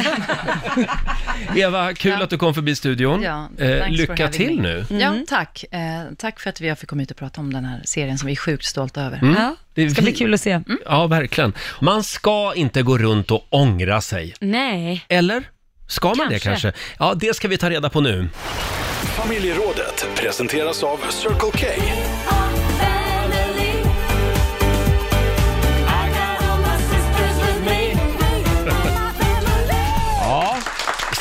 S1: Eva, kul
S9: Ja.
S1: att du kom förbi studion.
S9: Ja,
S1: eh,
S9: thanks for
S1: lycka
S9: having
S1: till
S9: me.
S1: nu.
S2: Mm.
S9: Ja, tack. Eh, tack för att vi fick komma hit och prata om den här serien som vi är sjukt stolta över.
S2: Ja,
S1: Det är
S2: det ska bli
S1: Mm. vi- Mm.
S2: kul att se.
S9: Mm.
S1: Ja, verkligen. Man ska inte gå runt och ångra sig.
S2: Nej.
S1: Eller? Ska man det
S2: Kanske.
S1: kanske? Ja, det ska vi ta reda på nu.
S4: Familjerådet presenteras av Circle K.
S1: Ja.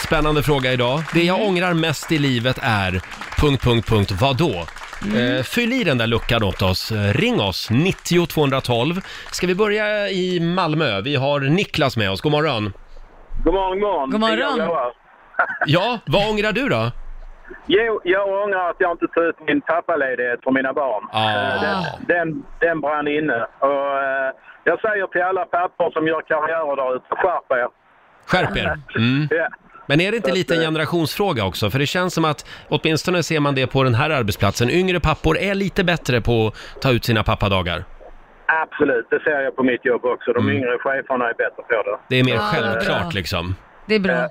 S1: Spännande fråga idag. Det
S2: Mm.
S1: jag ångrar mest i livet är... Punkt, punkt, punkt. Vadå?
S2: Mm.
S1: Eh, fyll i den där luckan åt oss. Eh, Ring oss, 90 212. Ska vi börja i Malmö? Vi har Niklas med oss. God morgon.
S10: God morgon, god morgon.
S2: God morgon.
S10: Det är jag, Johan.
S1: Ja, vad ångrar du då?
S10: Jo, jag ångrar att jag inte tog ut min pappaledighet för mina barn.
S1: Ah.
S10: Eh, Den, den, den brann inne. Och, eh, jag säger till alla pappor som gör karriärer där ute, skärp er.
S1: Skärp er. Mm.
S10: Ja.
S1: Men är det inte lite en generationsfråga också? För det känns som att, åtminstone ser man det på den här arbetsplatsen, yngre pappor är lite bättre på att ta ut sina pappadagar.
S10: Absolut, det ser jag på mitt jobb också. De yngre cheferna är bättre på det.
S1: Mm.
S10: Eh,
S1: Det är mer
S2: Ja,
S1: självklart
S2: bra.
S1: liksom.
S2: Det är bra.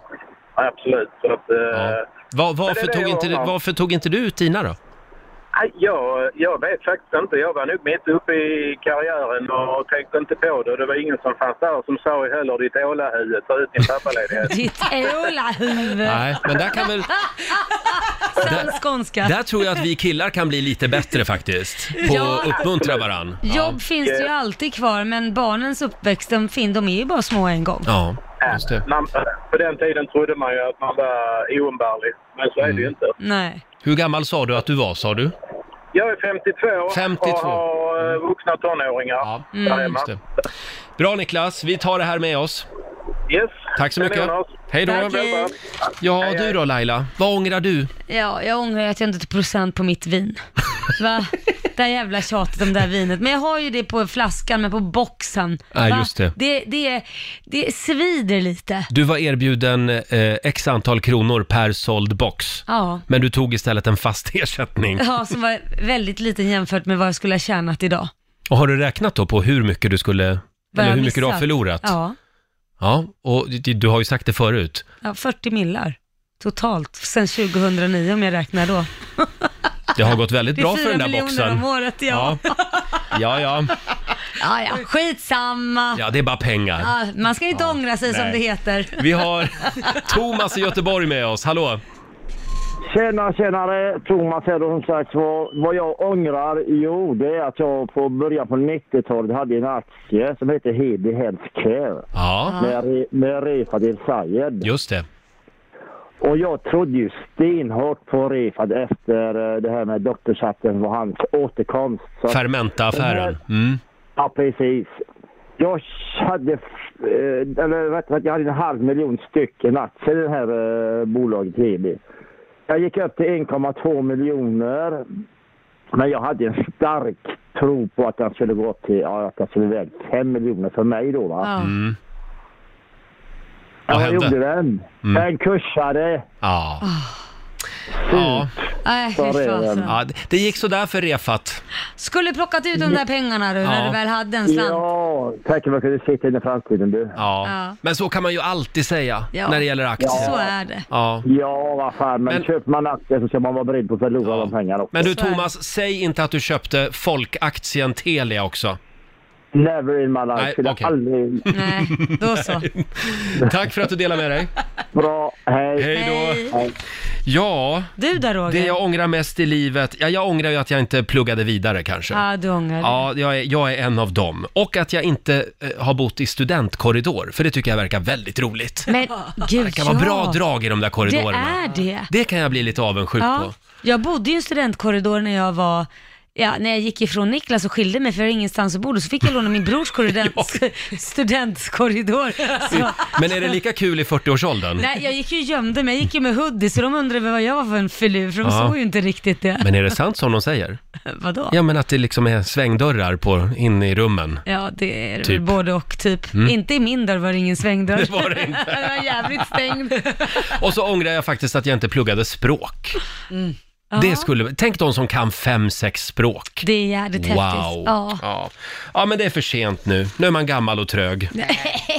S10: Absolut. Så att, eh,
S1: Ja. Var, varför,
S10: Men det är
S1: tog
S10: det
S1: inte,
S10: jag har.
S1: varför tog inte du ut dina då?
S10: nej, jag, jag vet faktiskt inte. Jag var nog mitt uppe i karriären och tänkte inte på det. Det var ingen som fanns där som sa heller ditt ålahuvud, ta ut din pappaledighet.
S2: Ditt ålahuvud.
S1: Nej, men där kan väl...
S2: Sann skånska.
S1: Där tror jag att vi killar kan bli lite bättre faktiskt. På
S2: Ja.
S1: att uppmuntra varann.
S2: Jobb finns det ju alltid kvar, men barnens uppväxt, de, fin, de är ju bara små en gång.
S1: Ja, just det.
S10: Man, på den tiden trodde man ju att man var oumbärlig, men så är
S1: Mm.
S10: det ju inte.
S2: Nej.
S1: Hur gammal sa du att du var, sa du?
S10: Jag är 52,
S1: 52.
S10: och har eh, vuxna tonåringar
S2: Mm.
S1: Ja,
S10: där hemma.
S1: just det. Bra Niklas, vi tar det här med oss.
S10: Yes,
S1: Tack så mycket.
S2: Kanon.
S1: Hej då.
S2: Tack, hej.
S1: Ja, du då Laila? Vad ångrar du?
S2: Ja, jag ångrar ju att jag inte tog procent på mitt vin. Va? Det här jävla tjatet om det här vinet. Men jag har ju det på flaskan, men på boxen.
S1: Nej,
S2: Va?
S1: just det.
S2: Det, det. Det svider lite.
S1: Du var erbjuden eh, x antal kronor per såld box.
S2: Ja.
S1: Men du tog istället en fast ersättning.
S2: Ja, som var väldigt liten jämfört med vad jag skulle ha tjänat idag.
S1: Och har du räknat då på hur mycket du skulle,
S2: Vad
S1: eller
S2: jag
S1: hur mycket du har
S2: missat.
S1: förlorat?
S2: Ja,
S1: Ja, och du, du har ju sagt det förut.
S2: ja 40 millar totalt sen 2009 om jag räknar då.
S1: Det har gått väldigt
S2: Det är
S1: bra för
S2: fyra
S1: den där
S2: miljoner
S1: boxen.
S2: om året, ja.
S1: Ja, ja. Ja,
S2: Ja, ja, skitsamma.
S1: ja det är bara pengar.
S2: Ja, man ska ju inte ångra sig som
S1: nej.
S2: det heter.
S1: Vi har Thomas i Göteborg med oss, hallå!
S11: Tjena, tjenare! Thomas här då som sagt var. Vad jag ångrar, jo det är att jag på början på 90-talet hade en aktie som heter Hedi Healthcare.
S1: Ja.
S11: Med, Re- med Refat El Sayed.
S1: Just det.
S11: Och jag trodde ju stenhårt på Refat efter eh, det här med doktorchatten var hans återkomst. Så att-
S1: Fermenta-affären. Mm.
S11: Ja, precis. Jag hade, eh, eller rätt sagt, jag hade en halv miljon stycken aktier i det här eh, bolaget Hedi. Jag gick upp till 1,2 miljoner. Men jag hade en stark tro på att den skulle gå upp till, ja, att den skulle iväg 5 miljoner för mig då va.
S2: Ja.
S1: Mm.
S11: Jag gjorde den.
S2: Mm.
S11: Den kursade.
S1: Ja.
S2: Ah.
S1: Ja.
S2: Nej, fy Mm. Äh, fasen.
S1: ja, det- det gick sådär för Refat.
S2: Skulle plockat ut de där pengarna du, när
S1: Ja.
S2: du väl hade en slant.
S11: Ja, tänk om jag kunde sitta in i framtiden du.
S1: Ja. Men så kan man ju alltid säga
S2: Ja.
S1: när det gäller aktier.
S2: Så är det.
S1: Ja.
S11: Ja, vad fan. Men, köper man aktier så ska man vara beredd på att förlora de pengarna också.
S1: Men du
S11: Så är det.
S1: Thomas, säg inte att du köpte folkaktien Telia också.
S11: Never in my life.
S1: Nej,
S11: Skulle
S1: okej.
S11: aldrig...
S2: Nej, då så.
S1: Tack för att du delade med dig.
S11: Bra, hej.
S1: Hej då.
S2: Hej.
S1: Ja,
S2: Du där Roger.
S1: det jag ångrar mest i livet, ja, jag ångrar ju att jag inte pluggade vidare kanske.
S2: Ja, du ångrar dig.
S1: Ja, jag är, jag är en av dem. Och att jag inte eh, har bott i studentkorridor, för det tycker jag verkar väldigt roligt.
S2: Men gud
S1: Det kan vara
S2: ja.
S1: bra drag i de där
S2: Det
S1: korridorerna.
S2: är det.
S1: Det kan jag bli lite avundsjuk på.
S2: Jag bodde i en studentkorridor när jag var Ja, när jag gick ifrån Niklas och skilde mig för jag hade ingenstans att bo, då så fick jag låna min brors korridor, studentkorridor. Så,
S1: Men är det lika kul i 40-årsåldern?
S2: nej, jag gick ju och gömde mig, jag gick ju med hoodie, så de undrade vad jag var för en filur, för de
S1: Ja.
S2: såg ju inte riktigt det.
S1: Men är det sant som de säger?
S2: Vadå?
S1: Ja, men att det liksom är svängdörrar på, in i rummen.
S2: Ja, det är
S1: Typ.
S2: väl både och typ.
S1: Mm.
S2: Inte i min dörr var det ingen svängdörr.
S1: Det var det inte.
S2: Den var jävligt stängd.
S1: Och så ångrar jag faktiskt att jag inte pluggade språk.
S2: Mm.
S1: Det skulle, tänk de som kan fem, sex språk.
S2: Det är jävligt
S1: Wow.
S2: häftigt. Ja.
S1: Ja. ja, men det är för sent nu. Nu är man gammal och trög.
S2: Nej,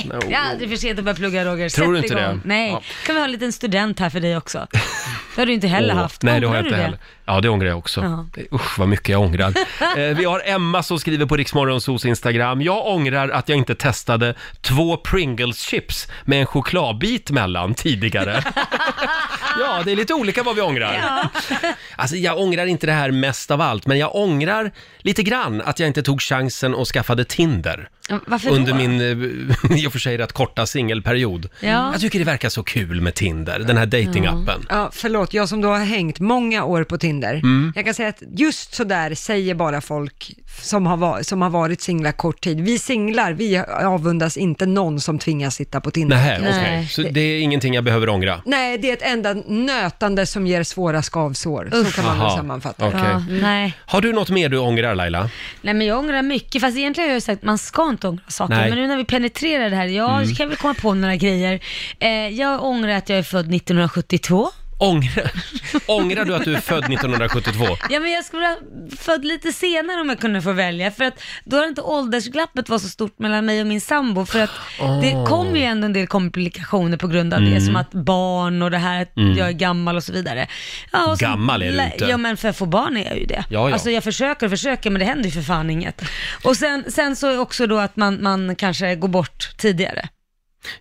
S1: No.
S2: det är aldrig för sent att börja plugga Roger.
S1: Tror
S2: Sätt
S1: du inte
S2: igång.
S1: det?
S2: Nej,
S1: Ja.
S2: kan vi ha en liten student här för dig också. Det har du inte heller
S1: Åh,
S2: haft.
S1: Nej, det har
S2: Ångrar
S1: jag
S2: du
S1: inte heller. Ja, det ångrar jag också.
S2: Ja.
S1: Det- Usch, vad mycket jag ångrar. eh, vi har Emma som skriver på Riksmorgonsos Instagram. Jag ångrar att jag inte testade två Pringles-chips med en chokladbit mellan tidigare. ja, det är lite olika vad vi ångrar. Alltså, jag ångrar inte det här mest av allt, men jag ångrar lite grann att jag inte tog chansen och skaffade Tinder.
S2: Varför
S1: under
S2: då?
S1: min, eh, i och för sig rätt korta singelperiod.
S3: Ja.
S1: Jag tycker det verkar så kul med Tinder, den här datingappen.
S3: Ja, förlåt, jag som då har hängt många år på Tinder.
S1: Mm.
S3: Jag kan säga att just sådär säger bara folk som har, va- som har varit singlar kort tid. Vi singlar, vi avundas inte någon som tvingas sitta på Tinder.
S1: Nähä,
S3: kan jag
S1: okej.
S3: säga.
S1: Så det är ingenting jag behöver ångra?
S3: Nej, det är ett enda nötande som ger svåra skavsår. Så kan man väl
S1: Aha,
S3: sammanfatta
S1: okej.
S2: Ja, nej.
S1: Har du något mer du ångrar Laila?
S2: nej, men jag ångrar mycket. Fast egentligen har jag ju sagt att man ska inte ångra saker.
S1: Nej.
S2: Men nu när vi penetrerar det här, jag
S1: Mm.
S2: kan väl komma på några grejer. Eh, jag ångrar att jag är född 1972.
S1: Ångrar, ångrar du att du är född 1972?
S2: Ja men jag skulle ha född lite senare om jag kunde få välja för att då har inte åldersglappet var så stort mellan mig och min sambo för att
S1: Åh.
S2: det kom ju ändå en del komplikationer på grund av det
S1: Mm.
S2: som att barn och det här att
S1: Mm.
S2: jag är gammal och så vidare. Ja, och så-
S1: Gammal är du inte.
S2: Ja men för att få barn är jag ju det.
S1: Ja, ja.
S2: Alltså jag försöker och försöker men det händer ju för fan inget. Och sen, sen så är också då att man, man kanske går bort tidigare.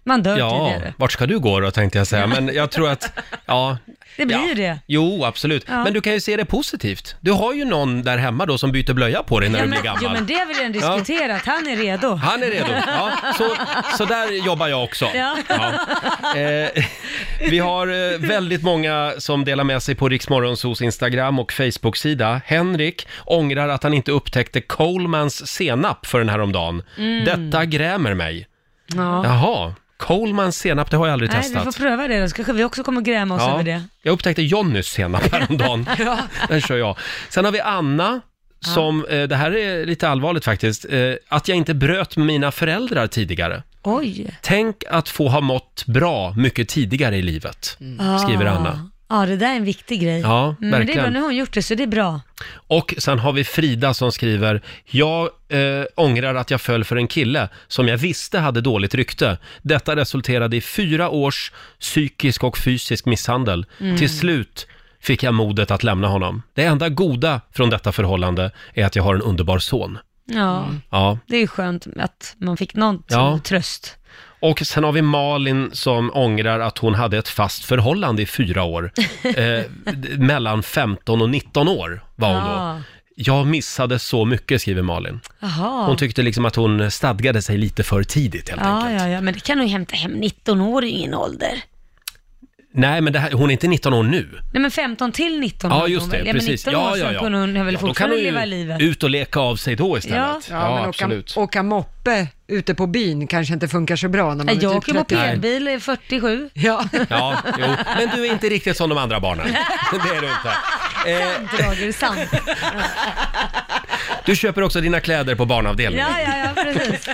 S2: Man dör
S1: Ja,
S2: tidigare.
S1: vart ska du gå då tänkte jag säga, men jag tror att, ja.
S2: Det blir
S1: ja.
S2: ju det.
S1: Jo, absolut.
S2: Ja.
S1: Men du kan ju se det positivt. Du har ju någon där hemma då som byter blöja på dig när
S2: ja,
S1: du
S2: men,
S1: blir gammal.
S2: jo men det har vi redan
S1: Ja.
S2: diskuterat, han är redo.
S1: Han är redo. Ja, så, så där jobbar jag också.
S2: Ja.
S1: Eh, vi har eh, väldigt många som delar med sig på Riksmorgonsos Instagram och Facebook-sida. Henrik ångrar att han inte upptäckte Colemans senap för den här om dagen.
S2: Mm.
S1: Detta grämer mig.
S2: Ja.
S1: Jaha, Coleman senap, det har jag aldrig
S2: Nej, vi
S1: testat.
S2: får pröva det då, så kanske vi också kommer gräma oss över det.
S1: Jag upptäckte Jonnys senap häromdagen.
S2: Ja.
S1: Den kör jag. Sen har vi Anna. Som, eh, det här är lite allvarligt faktiskt, eh, att jag inte bröt med mina föräldrar tidigare.
S2: Oj.
S1: Tänk att få ha mått bra mycket tidigare i livet, skriver
S2: Ah.
S1: Anna.
S2: Ja, det där är en viktig grej. Mm,
S1: Ja,
S2: Men det är
S1: verkligen.
S2: bra, nu har hon gjort det, så det är bra.
S1: Och sen har vi Frida som skriver, jag eh, ångrar att jag föll för en kille som jag visste hade dåligt rykte. Detta resulterade i fyra års psykisk och fysisk misshandel.
S7: Mm.
S1: Till slut fick jag modet att lämna honom. Det enda goda från detta förhållande är att jag har en underbar son.
S2: Ja,
S1: Ja,
S2: det är ju skönt att man fick någon
S1: Mm. Ja.
S2: tröst.
S1: Och sen har vi Malin som ångrar att hon hade ett fast förhållande i fyra år. Eh, d- mellan 15 och 19 år var hon
S2: Ja.
S1: då. Jag missade så mycket, skriver Malin.
S2: Jaha.
S1: Hon tyckte liksom att hon stadgade sig lite för tidigt. Helt.
S2: ja, ja, ja, men det kan hon ju hämta hem. 19 år är ju ingen ålder.
S1: Nej, men det här, hon är inte 19 år nu.
S2: Nej, men 15 till 19
S1: Ja,
S2: år
S1: just
S2: hon
S1: det,
S2: väl. Ja, men
S1: precis.
S2: 19
S1: Ja,
S2: år
S1: ja,
S2: sedan
S1: ja.
S2: kunde hon väl
S1: Ja, då kan
S2: fortfarande
S1: hon ju
S2: leva livet.
S1: Ut och leka av sig då istället.
S2: Ja.
S3: Ja, men
S1: absolut.
S3: Åka, åka moppe ute på byn kanske inte funkar så bra när man
S2: Nej, jag
S3: är
S2: åker
S3: typ 30.
S2: mopedbil i 47.
S3: Ja.
S1: Ja, jo. Men du är inte riktigt som de andra barnen. Det är du inte. Eh,
S2: Sant Roger, sant.
S1: du köper också dina kläder på barnavdelningen.
S2: Ja, ja, ja, precis.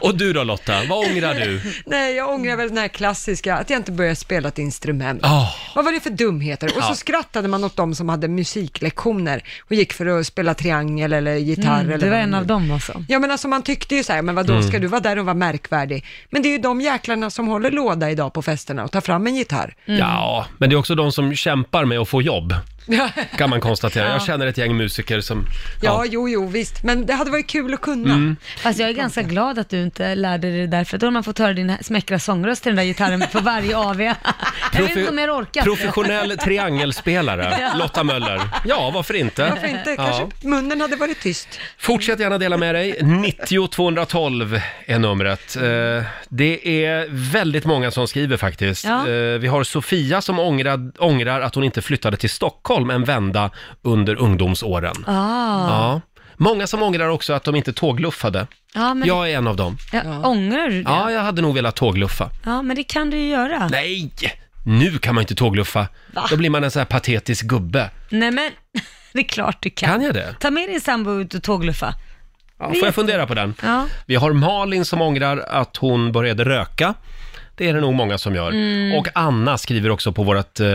S1: Och du då Lotta, vad ångrar du?
S3: Nej, jag ångrar väl den här klassiska, att jag inte började spela ett instrument.
S1: Ah.
S3: Vad var det för dumheter? Och
S1: Ja.
S3: så skrattade man åt dem som hade musiklektioner och gick för att spela triangel eller gitarr.
S2: Mm,
S3: eller
S2: du var
S3: vad
S2: en
S3: det
S2: av
S3: nu-
S2: dem alltså.
S3: Ja men alltså man tyckte ju så här, men vadå
S2: Mm.
S3: ska du vara där och vara märkvärdig? Men det är ju de jäklarna som håller låda idag på festerna och tar fram en gitarr.
S2: Mm.
S1: Ja, men det är också de som kämpar med att få jobb.
S3: Ja,
S1: Kan man konstatera.
S3: Ja.
S1: Jag känner ett gäng musiker som...
S3: jo, jo, visst. Men det hade varit kul att kunna.
S1: Mm.
S2: Fast jag är ganska glad att du inte lärde dig det där, för då har man fått höra din smäckra sångröst till den där gitarren på varje AV. Jag vet inte om jag orkar.
S1: Professionell triangelspelare,
S2: Ja.
S1: Lotta Möller. Ja, varför inte?
S3: Varför inte?
S1: Ja.
S3: Kanske munnen hade varit tyst.
S1: Fortsätt gärna dela med dig. 90 212 är numret. Eh, Det är väldigt många som skriver faktiskt.
S2: Ja.
S1: Eh, Vi har Sofia som ångrar, ångrar att hon inte flyttade till Stockholm en vända under ungdomsåren.
S2: Ah.
S1: Ja. Många som ångrar också att de inte tågluffade.
S2: Ja, men
S1: Jag är en av dem.
S2: Ja, Ångrar du det?
S1: Ja, jag hade nog velat tågluffa.
S2: Ja, men det kan du ju göra.
S1: Nej! Nu kan man inte tågluffa.
S2: Va?
S1: Då blir man en sån här patetisk gubbe.
S2: Nej, men det är klart du kan.
S1: Kan jag det?
S2: Ta med din sambo ut och tågluffa.
S1: Ja,
S2: Det är
S1: får jag
S2: jätte-
S1: fundera på den?
S2: Ja.
S1: Vi har Malin som ångrar att hon började röka. Det är det nog många som gör.
S2: Mm.
S1: Och Anna skriver också på vårt eh,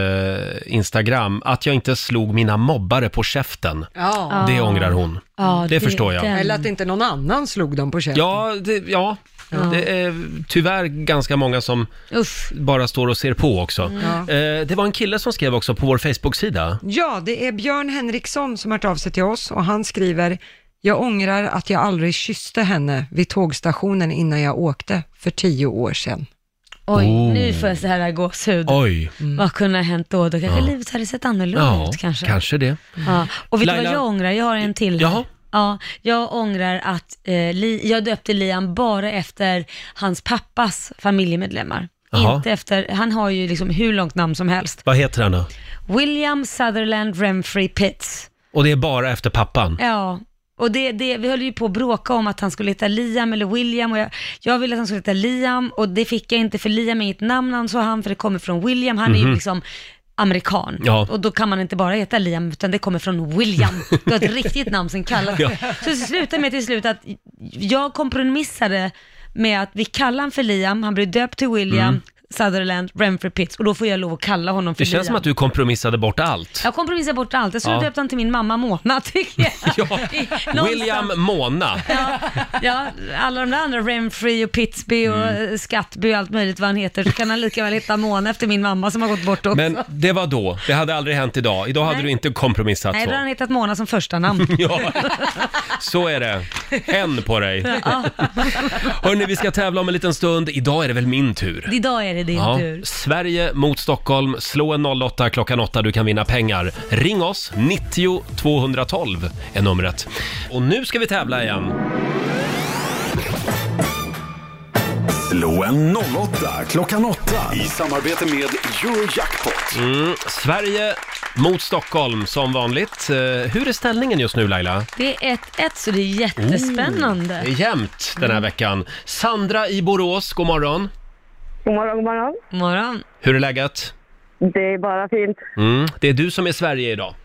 S1: Instagram att jag inte slog mina mobbare på käften.
S3: Ja.
S1: Det ångrar hon.
S3: Ja,
S1: det, förstår jag.
S3: Eller att inte någon annan slog dem på käften.
S1: Ja, det, ja. det är tyvärr ganska många som bara står och ser på också.
S3: Mm.
S1: Eh, det var en kille som skrev också på vår Facebook-sida.
S3: Ja, det är Björn Henriksson som har hört av sig till oss och han skriver jag ångrar att jag aldrig kysste henne vid tågstationen innan jag åkte för tio år sedan.
S2: Oj,
S3: Oh.
S2: nu får jag så här gåshud.
S1: Oj.
S2: Vad kunde ha hänt då? Då kanske
S1: Ja.
S2: livet hade sett annorlunda
S1: Ja,
S2: ut
S1: kanske,
S2: kanske. Mm.
S1: det.
S2: Ja. Och vet du
S1: Laila-
S2: vad jag ångrar? Jag har en till.
S1: Jaha.
S2: Ja, jag ångrar att eh, Li, jag döpte Liam bara efter hans pappas familjemedlemmar.
S1: Jaha.
S2: Inte efter, han har ju liksom hur långt namn som helst.
S1: Vad heter han då?
S2: William Sutherland Renfrey Pitts.
S1: Och det är bara efter pappan.
S2: Ja, och det, det, vi höll ju på att bråka om att han skulle heta Liam eller William och jag, jag ville att han skulle heta Liam och det fick jag inte för Liam är inget namn han sa han för det kommer från William, han är ju
S1: Mhm.
S2: liksom amerikan
S1: Ja.
S2: och då kan man inte bara heta Liam utan det kommer från William. Du har ett riktigt namn som kallas.
S1: Ja.
S2: Så det slutade med till slut att jag kompromissade med att vi kallar han för Liam, han blir döpt till William
S1: Mm.
S2: Sutherland, Renfrew Pitts och då får jag lov att kalla honom för
S1: Det
S2: Liam.
S1: känns som att du kompromissade bort allt.
S2: Jag kompromissar bort allt. Jag skulle
S1: Ja.
S2: döpt han till min mamma Mona, tycker jag. I- någonstans-
S1: William Mona.
S2: Ja, alla de där andra, Renfrey och Pitsby och
S7: Mm.
S2: eh, Skattby och allt möjligt vad han heter, så kan han lika väl heta Mona efter min mamma som har gått bort också.
S1: Men det var då. Det hade aldrig hänt idag. Idag hade
S2: Nej.
S1: du inte kompromissat
S2: Nej, då har han
S1: så.
S2: hetat Mona som första namn.
S1: Ja, så är det. En på dig.
S2: Ja,
S1: Hörni, vi ska tävla om en liten stund. Idag är det väl min tur?
S2: idag är det din
S1: Ja.
S2: tur.
S1: Sverige mot Stockholm. Slå en 08 klockan 8. Du kan vinna pengar. Ring oss. 90 212 är numret. Och nu ska vi tävla igen.
S4: Slå en 08 klockan 8 i samarbete med Eurojackpot.
S1: Mm, Sverige mot Stockholm som vanligt. Eh, Hur är ställningen just nu Laila?
S2: Det är 1-1 så det är Mm. jättespännande.
S1: Det
S7: Oh.
S1: är jämnt den här veckan. Sandra i Borås, god morgon.
S12: God morgon, god morgon.
S2: morgon.
S1: Hur är läget?
S12: Det är bara fint.
S1: Mm. Det är du som är Sverige idag.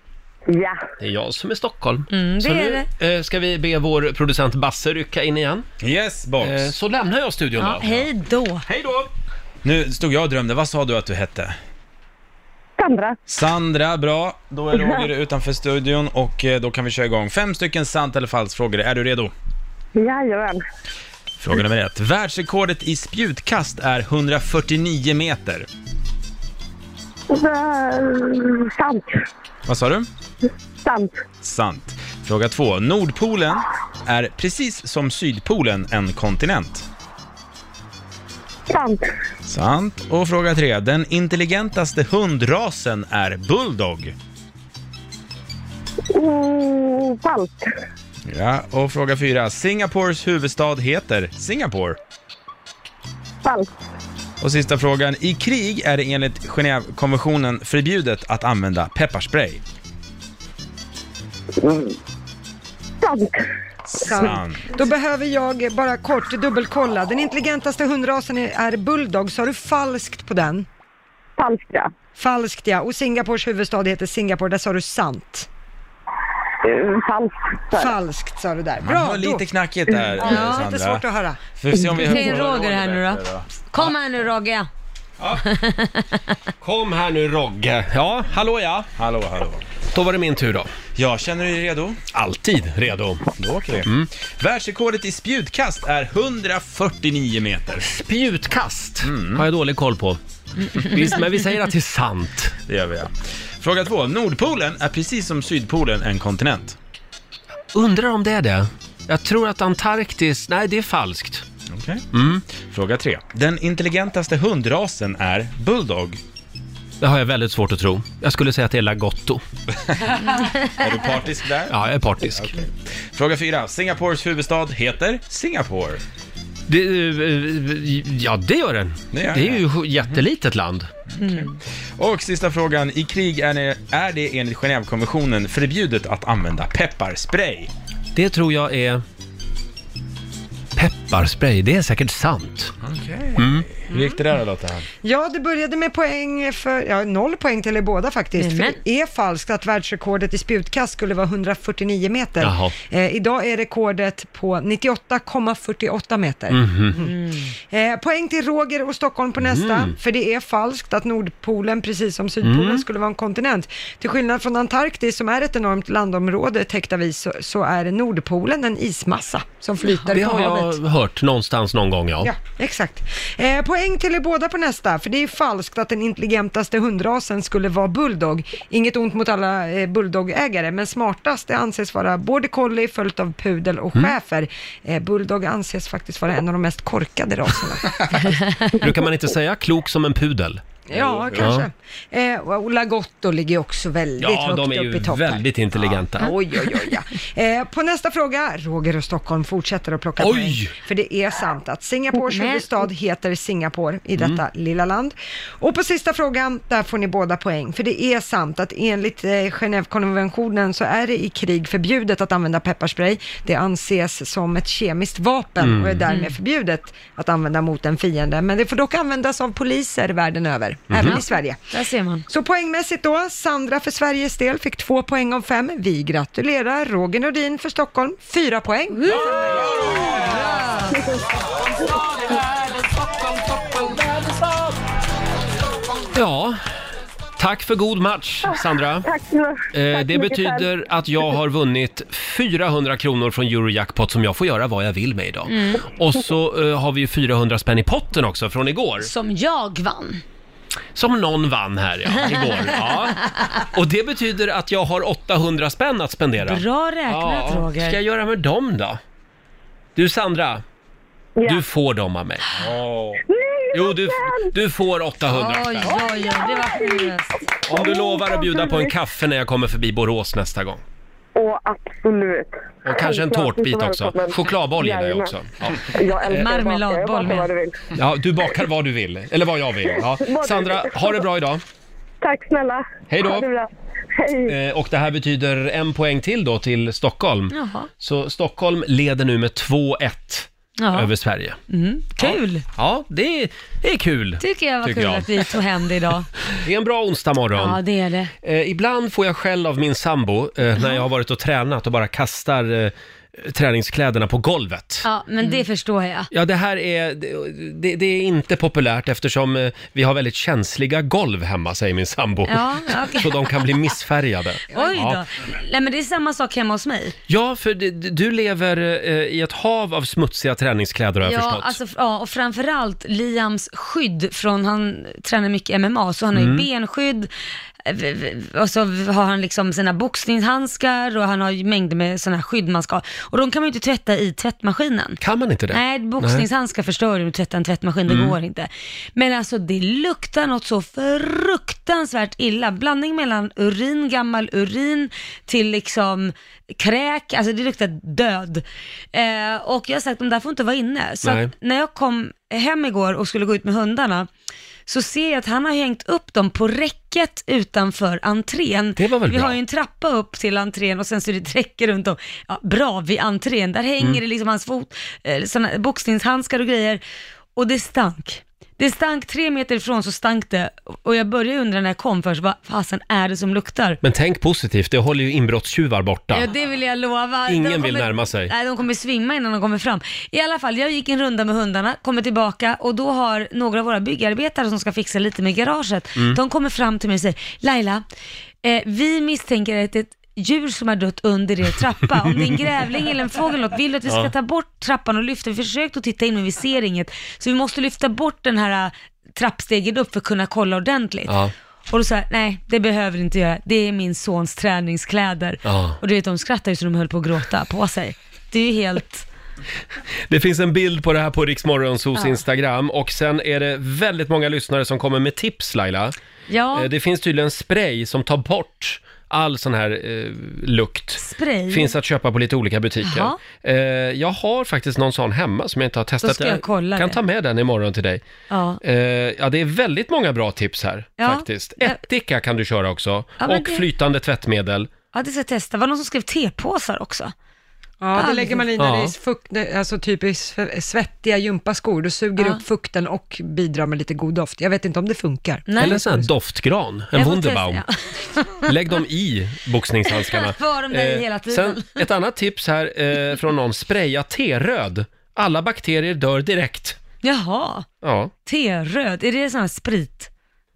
S12: Ja,
S1: Det är jag som är Stockholm.
S2: Mm, det
S1: så
S2: är
S1: nu eh, ska vi be vår producent Basse rycka in igen. Eh,
S7: Yes, box.
S1: så lämnar jag studion
S2: Ja, hej då.
S1: Hej då.
S7: Nu stod jag och drömde, vad sa du att du hette?
S12: Sandra.
S7: Sandra, bra. Då är Roger utanför studion och eh, då kan vi köra igång. Fem stycken sant eller falskt frågor. Är du redo?
S12: Jajamän.
S7: Fråga nummer ett. Världsrekordet i spjutkast är 149 meter.
S12: Eh, Sant.
S7: Vad sa du?
S12: Sant.
S7: Sant. Fråga två. Nordpolen är precis som Sydpolen en kontinent.
S12: Sant.
S7: Sant. Och fråga tre. Den intelligentaste hundrasen är bulldog.
S12: Oh, falskt.
S7: Ja, och fråga fyra. Singapores huvudstad heter Singapore.
S12: Falskt.
S7: Och sista frågan. I krig är det enligt Genèvekonventionen förbjudet att använda pepparspray.
S12: Sant.
S7: Sant.
S3: Då behöver jag bara kort dubbelkolla. Den intelligentaste hundrasen är- är bulldog. Sa du falskt på den?
S12: Falskt ja.
S3: Falskt ja. Och Singapores huvudstad heter Singapore. Där sa du sant.
S12: Falskt.
S3: Falskt sa du där.
S7: Man
S3: Bra.
S7: hör
S3: då-
S7: lite knackigt där, eh,
S3: Ja,
S7: Sandra.
S3: lite svårt att höra.
S7: Får vi se om vi hör
S2: Säg
S7: från
S2: Roger här nu då.
S7: bättre då.
S2: Kom här nu Roger.
S1: Kom här nu Rogge. Ja, hallå ja.
S7: Hallå, hallå.
S1: Då var det min tur då.
S7: Ja, känner du dig redo?
S1: Alltid redo. Mm.
S7: Då åker vi. Världsrekordet i spjutkast är 149 meter. Mm.
S1: Spjutkast har jag dålig koll på. Visst, men vi säger att det är sant.
S7: Det gör vi, ja. Fråga två. Nordpolen är precis som Sydpolen en kontinent.
S1: Undrar om det är det? Jag tror att Antarktis... Nej, det är falskt.
S7: Okej.
S1: Mm.
S7: Fråga tre. Den intelligentaste hundrasen är bulldog.
S1: Det har jag väldigt svårt att tro. Jag skulle säga att det är lagotto.
S7: Är du partisk där?
S1: Ja, jag är partisk.
S7: Fråga fyra. Singapores huvudstad heter Singapore.
S1: Det, eh, ja, det gör den.
S7: Det
S1: Det,
S7: gör Mhm.
S1: är ju ett jättelitet land.
S7: Och sista frågan. I krig är det, är det enligt Genèvekonventionen förbjudet att använda pepparspray.
S1: Det tror jag är... Pepparspray, det är säkert sant. Mm.
S7: Hur gick det där då Lotta?
S3: Ja, det började med poäng för, ja, noll poäng till er båda faktiskt. För
S2: Nämen.
S3: det är falskt att världsrekordet i spjutkast skulle vara 149 meter.
S1: Jaha.
S3: Eh, idag är rekordet på 98,48 meter.
S7: Mhm.
S1: Mm-hmm.
S2: Mm.
S3: Eh, poäng till Roger och Stockholm på nästa,
S1: Mm.
S3: för det är falskt att Nordpolen, precis som Sydpolen,
S1: Mm.
S3: skulle vara en kontinent. Till skillnad från Antarktis, som är ett enormt landområde täckt av is, så, så är Nordpolen en ismassa som flyter
S1: Det
S3: på
S1: har
S3: havet.
S1: jag hört någonstans någon gång, ja.
S3: Ja, exakt. Eh, poäng till er båda på nästa, för det är falskt att den intelligentaste hundrasen skulle vara bulldog. Inget ont mot alla eh, bulldogägare, men smartast det anses vara border collie följt av pudel och
S1: Mm.
S3: schäfer. Eh, bulldog anses faktiskt vara en av de mest korkade raserna.
S1: Brukar man inte säga klok som en pudel?
S3: ja, kanske. Eh, och Lagotto ligger ju också väldigt
S1: Ja,
S3: högt
S1: de är
S3: upp i
S1: ju
S3: topp. här.
S1: väldigt intelligenta.
S3: Oj, oj, oj. Ja. Eh, på nästa fråga, Roger och Stockholm fortsätter att plocka
S1: Oj!
S3: poäng. För det är sant att Singapores
S2: Men-
S3: huvudstad heter Singapore i detta
S1: Mm.
S3: lilla land. Och på sista frågan, där får ni båda poäng. För det är sant att enligt eh, Genèvekonventionen så är det i krig förbjudet att använda pepparspray. Det anses som ett kemiskt vapen
S1: Mm.
S3: och är
S2: Mm.
S3: därmed förbjudet att använda mot en fiende. Men det får dock användas av poliser världen över,
S1: Mhm.
S3: även i Sverige.
S2: Där ser man.
S3: Så poängmässigt då, Sandra för Sveriges del fick två poäng av fem. Vi gratulerar Roger Nordin för Stockholm, fyra poäng.
S1: Ja, tack för god match Sandra.
S12: Tack så
S1: Eh,
S12: tack
S1: det
S12: så mycket själv.
S1: betyder att jag har vunnit 400 kronor från Eurojackpot som jag får göra vad jag vill med idag.
S2: Mm.
S1: Och så eh, har vi ju 400 spänn i potten också från igår.
S2: Som jag vann.
S1: Som någon vann här ja, igår. Ja. Och det betyder att jag har 800 spänn att spendera.
S2: Bra räknat
S1: Ja,
S2: Roger.
S1: ska jag göra med dem då? Du Sandra, du får dem av mig. Jo, du, du får 800
S2: Oj,
S1: spänn.
S2: oj, oj, det var generöst.
S1: Om du lovar att bjuda på en
S12: Absolut.
S1: kaffe när jag kommer förbi Borås nästa gång.
S12: Åh, absolut.
S1: Och kanske en
S12: Självklart,
S1: tårtbit
S12: du är
S1: också.
S12: välkommen.
S1: Chokladboll gillar jag
S12: Jajamän.
S1: också. Ja.
S12: Jag älskar bakar. Jag bakar
S2: Marmeladboll med.
S12: vad du vill.
S1: ja, du bakar vad du vill, eller vad jag vill. Ja.
S12: Vad du
S1: Sandra,
S12: vill.
S1: ha det bra idag.
S12: Tack snälla.
S1: Hej då.
S12: Ha det bra.
S1: Eh, Och det här betyder en poäng till då till Stockholm.
S2: Jaha.
S1: Så Stockholm leder nu med 2-1
S2: Ja.
S1: över Sverige.
S2: Mm. Kul!
S1: Ja, det är, det är kul.
S2: Tycker jag var
S1: Tycker
S2: kul
S1: jag.
S2: att vi tog hem det idag.
S1: Det är en bra onsdag morgon.
S2: Ja, det är det.
S1: Eh, ibland får jag skäll av min sambo eh, när jag har varit och tränat och bara kastar eh, träningskläderna på golvet.
S2: Ja, men det förstår jag.
S1: Ja, det här är, det- det, det är inte populärt eftersom eh, vi har väldigt känsliga golv hemma, säger min sambo.
S2: Ja, okej.
S1: Så de kan bli missfärgade.
S2: Oj
S1: Ja.
S2: då. Nej, men det är samma sak hemma hos mig.
S1: Ja, för d- d- du lever eh, i ett hav av smutsiga träningskläder har jag
S2: Ja,
S1: förstått.
S2: alltså, ja, och framförallt Liams skydd från, han tränar mycket MMA, så han har
S1: Mm.
S2: ju benskydd, eh, v- v- och så har han liksom sina boxningshandskar och han har ju mängder med sådana här skydd man ska ha. Och de kan man ju inte tvätta i tvättmaskinen.
S1: Kan man inte det?
S2: Nej, boxningshandskar förstör ju om du tvättar en tvättmaskin, det
S1: Mm.
S2: går inte. Men alltså det luktar något så fruktansvärt illa. Blandning mellan urin, gammal urin, till liksom kräk, alltså det luktar död. Eh, och jag har sagt, de där får inte vara inne. Så
S13: Nej.
S2: att när jag kom hem igår och skulle gå ut med hundarna, så ser jag att han har hängt upp dem på räcket utanför entrén.
S1: Det var väl
S2: Vi
S1: bra.
S2: har ju en trappa upp till entrén och sen så är det ett räcke runt om. Ja, bra vid entrén, där hänger
S1: Mm.
S2: det liksom hans fot, eh, såna boxningshandskar och grejer. Och det stank. Det stank tre meter ifrån så stank det. Och jag började undra när jag kom först, vad fasen är det som luktar?
S1: Men tänk positivt, det håller ju inbrottstjuvar borta.
S2: Ja, det vill jag lova.
S1: Ingen
S2: De
S1: vill närma sig.
S2: Nej, de kommer svimma innan de kommer fram. I alla fall, jag gick en runda med hundarna, kommer tillbaka och då har några av våra byggarbetare som ska fixa lite med garaget,
S13: Mm.
S2: de kommer fram till mig och säger Laila, eh, vi misstänker att det är ett djur som har dött under er trappa. Om det är en grävling eller en fågel eller något, vill du att vi ska
S13: Ja.
S2: ta bort trappan och lyfta? Vi har försökt att titta in men vi ser inget. Så vi måste lyfta bort den här eh, trappstegen upp för att kunna kolla ordentligt.
S1: Ja.
S2: Och då sa jag, nej det behöver du inte göra, det är min sons träningskläder.
S1: Ja.
S2: Och du vet, de skrattade ju så de höll på att gråta på sig. Det är ju helt...
S1: Det finns en bild på det här på Riksmorgonsos
S2: Ja.
S1: Instagram och sen är det väldigt många lyssnare som kommer med tips Laila.
S2: Ja,
S1: Eh, Det finns tydligen spray som tar bort all sån här eh, lukt.
S2: spray.
S1: Finns att köpa på lite olika butiker.
S2: Jaha.
S1: Eh, jag har faktiskt någon sån hemma som jag inte har testat.
S2: ska jag kolla
S1: kan
S2: det.
S1: ta med den imorgon till dig.
S2: Ja.
S1: Eh, ja, det är väldigt många bra tips här
S2: Ja.
S1: faktiskt. Ättika kan du köra också.
S2: Ja, men
S1: och
S2: det-
S1: flytande tvättmedel.
S2: ja, det ska jag testa. Var det någon som skrev tepåsar också?
S3: Ja, det lägger man i när
S1: Ja.
S3: det är fukt, alltså typ i sve- svettiga gympaskor. Då suger
S2: Ja.
S3: upp fukten och bidrar med lite god doft. Jag vet inte om det funkar.
S1: Eller en sån här doftgran, en
S3: Jag får
S1: Wunderbaum.
S3: testa,
S1: Lägg dem i boxningshandskarna. Eh,
S2: Var de där i hela tiden.
S1: Sen ett annat tips här eh, från någon, spraya T-röd. Alla bakterier dör direkt.
S2: Jaha,
S1: Ja,
S2: T-röd, är det sån här sprit?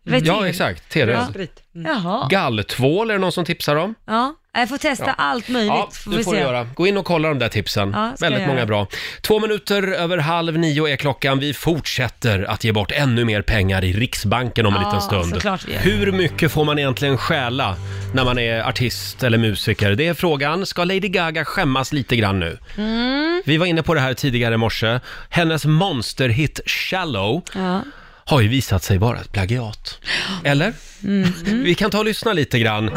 S2: Vet
S1: ja
S2: du?
S1: exakt, T-röd.
S3: Mm.
S2: Jaha.
S1: Galltvål är det någon som tipsar om.
S2: Ja, jag får testa
S1: Ja.
S2: allt möjligt.
S1: Ja,
S2: vi
S1: du får
S2: se.
S1: du göra. Gå in och kolla de där tipsen.
S2: Ja, ska
S1: Väldigt
S2: jag göra.
S1: många bra. Två minuter över halv nio är klockan. Vi fortsätter att ge bort ännu mer pengar i Riksbanken om en
S2: Ja,
S1: liten stund.
S2: såklart vi gör.
S1: Hur mycket får man egentligen stjäla när man är artist eller musiker? Det är frågan. Ska Lady Gaga skämmas lite grann nu?
S2: Mm.
S1: Vi var inne på det här tidigare i morse. Hennes monsterhit Shallow
S2: Ja.
S1: har ju visat sig vara ett plagiat. Eller?
S2: Mm.
S1: Vi kan ta och lyssna lite grann.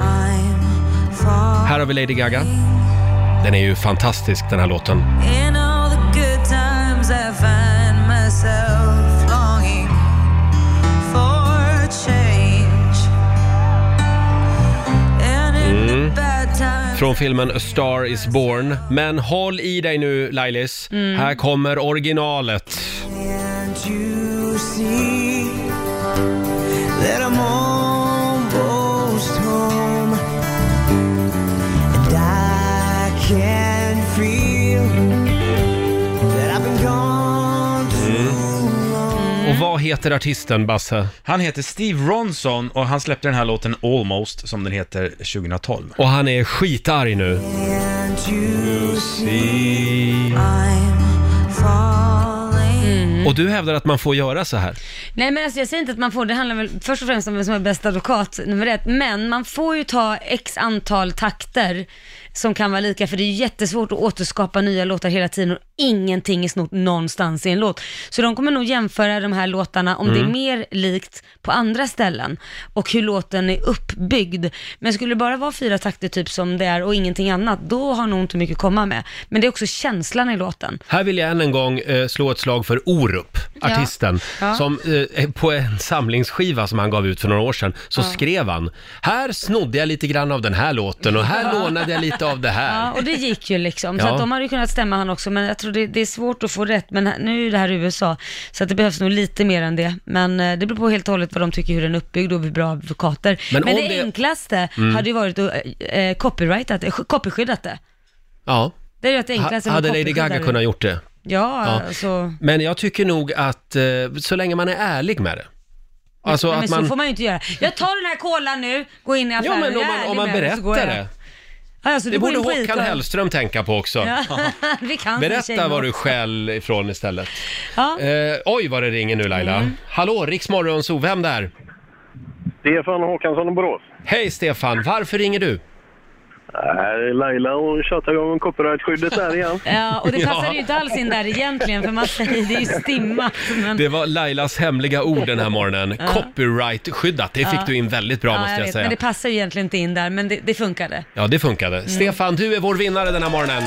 S1: Här har vi Lady Gaga. Den är ju fantastisk den här låten.
S8: In all the good times, I find myself longing for change. And in
S1: Mm.
S8: the bad times,
S1: Från filmen A Star Is Born. Men håll i dig nu Lailis.
S8: Mm.
S1: Här kommer originalet.
S13: Can't you see that I'm almost home? And I can feel that I've been gone
S1: Mm.
S13: too long.
S1: Och vad heter artisten, Basse?
S7: Han heter Steve Ronson och han släppte den här låten Almost, som den heter, 2012.
S1: Och han är skitarg nu.
S13: Can't you see
S8: I'm falling.
S1: Och du hävdar att man får göra så här?
S2: Nej men alltså jag säger inte att man får, det handlar väl först och främst om vem som är bäst advokat, nummer ett. Men man får ju ta x antal takter som kan vara lika, för det är ju jättesvårt att återskapa nya låtar hela tiden och ingenting är snott någonstans i en låt. Så de kommer nog jämföra de här låtarna, om det är
S13: Mm.
S2: mer likt på andra ställen och hur låten är uppbyggd. Men skulle det bara vara fyra takter typ som det är och ingenting annat, då har nog inte mycket att komma med. Men det är också känslan i låten.
S1: Här vill jag än en gång eh, slå ett slag för Orup,
S13: Ja.
S1: artisten,
S13: Ja.
S1: som eh, på en samlingsskiva som han gav ut för några år sedan, så skrev han “Här snodde jag lite grann av den här låten och här
S2: Ja.
S1: lånade jag lite av det här”.
S2: Ja, och det gick ju liksom. Så
S1: Ja.
S2: att de hade ju kunnat stämma han också, men jag tror det, det är svårt att få rätt. Men här- nu är ju det här USA, så att det behövs nog lite mer än det. Men eh, det beror på helt och hållet vad de tycker hur den är uppbyggd och hur bra advokater.
S1: Men
S2: Men,
S1: om
S2: det,
S1: det-
S2: enklaste
S1: Mm.
S2: hade ju varit att eh, copyrightat, eh, copyskyddat det.
S1: Ja.
S2: Det är ju att det enklaste
S1: Ha,
S2: med
S1: hade Lady
S2: copyskyddar
S1: Gaga
S2: det.
S1: kunnat gjort det?
S2: Ja,
S1: Ja.
S2: alltså.
S1: Men jag tycker nog att eh, så länge man är ärlig med det. Alltså
S2: Nej, men
S1: att man...
S2: så får man ju inte göra. Jag tar den här kolan nu, går in i
S1: ja,
S2: affären
S1: men
S2: jag
S1: om
S2: är
S1: man,
S2: ärlig
S1: om man
S2: med den, så går
S1: berättar
S2: jag.
S1: det.
S2: Ja, alltså, du
S1: Det
S2: går
S1: borde
S2: in på
S1: Håkan
S2: Ica.
S1: Hellström tänka på också.
S2: Ja, vi kan som
S1: Berätta
S2: tjejer.
S1: var du skäl ifrån istället.
S2: Ja. Mm.
S1: Eh, oj, vad det ringer nu Laila. Hallå, Riks Morgonzoo, vem där?
S14: Stefan Håkansson och Borås.
S1: Hej Stefan, varför ringer du?
S14: Nej, Äh, Laila och tjatar ju om copyrightskyddet där igen.
S2: Ja, och det passade
S1: Ja.
S2: ju inte alls in där egentligen, för man säger det är ju stimmat. Men...
S1: Det var Lailas hemliga ord den här morgonen.
S2: Ja.
S1: Copyright-skyddat, det fick
S2: Ja.
S1: du in väldigt bra
S2: Ja,
S1: måste jag,
S2: vet,
S1: säga.
S2: Men Mm. det passar ju egentligen inte in där, men det, det funkade.
S1: Ja, det funkade. Stefan, du är vår vinnare den här morgonen.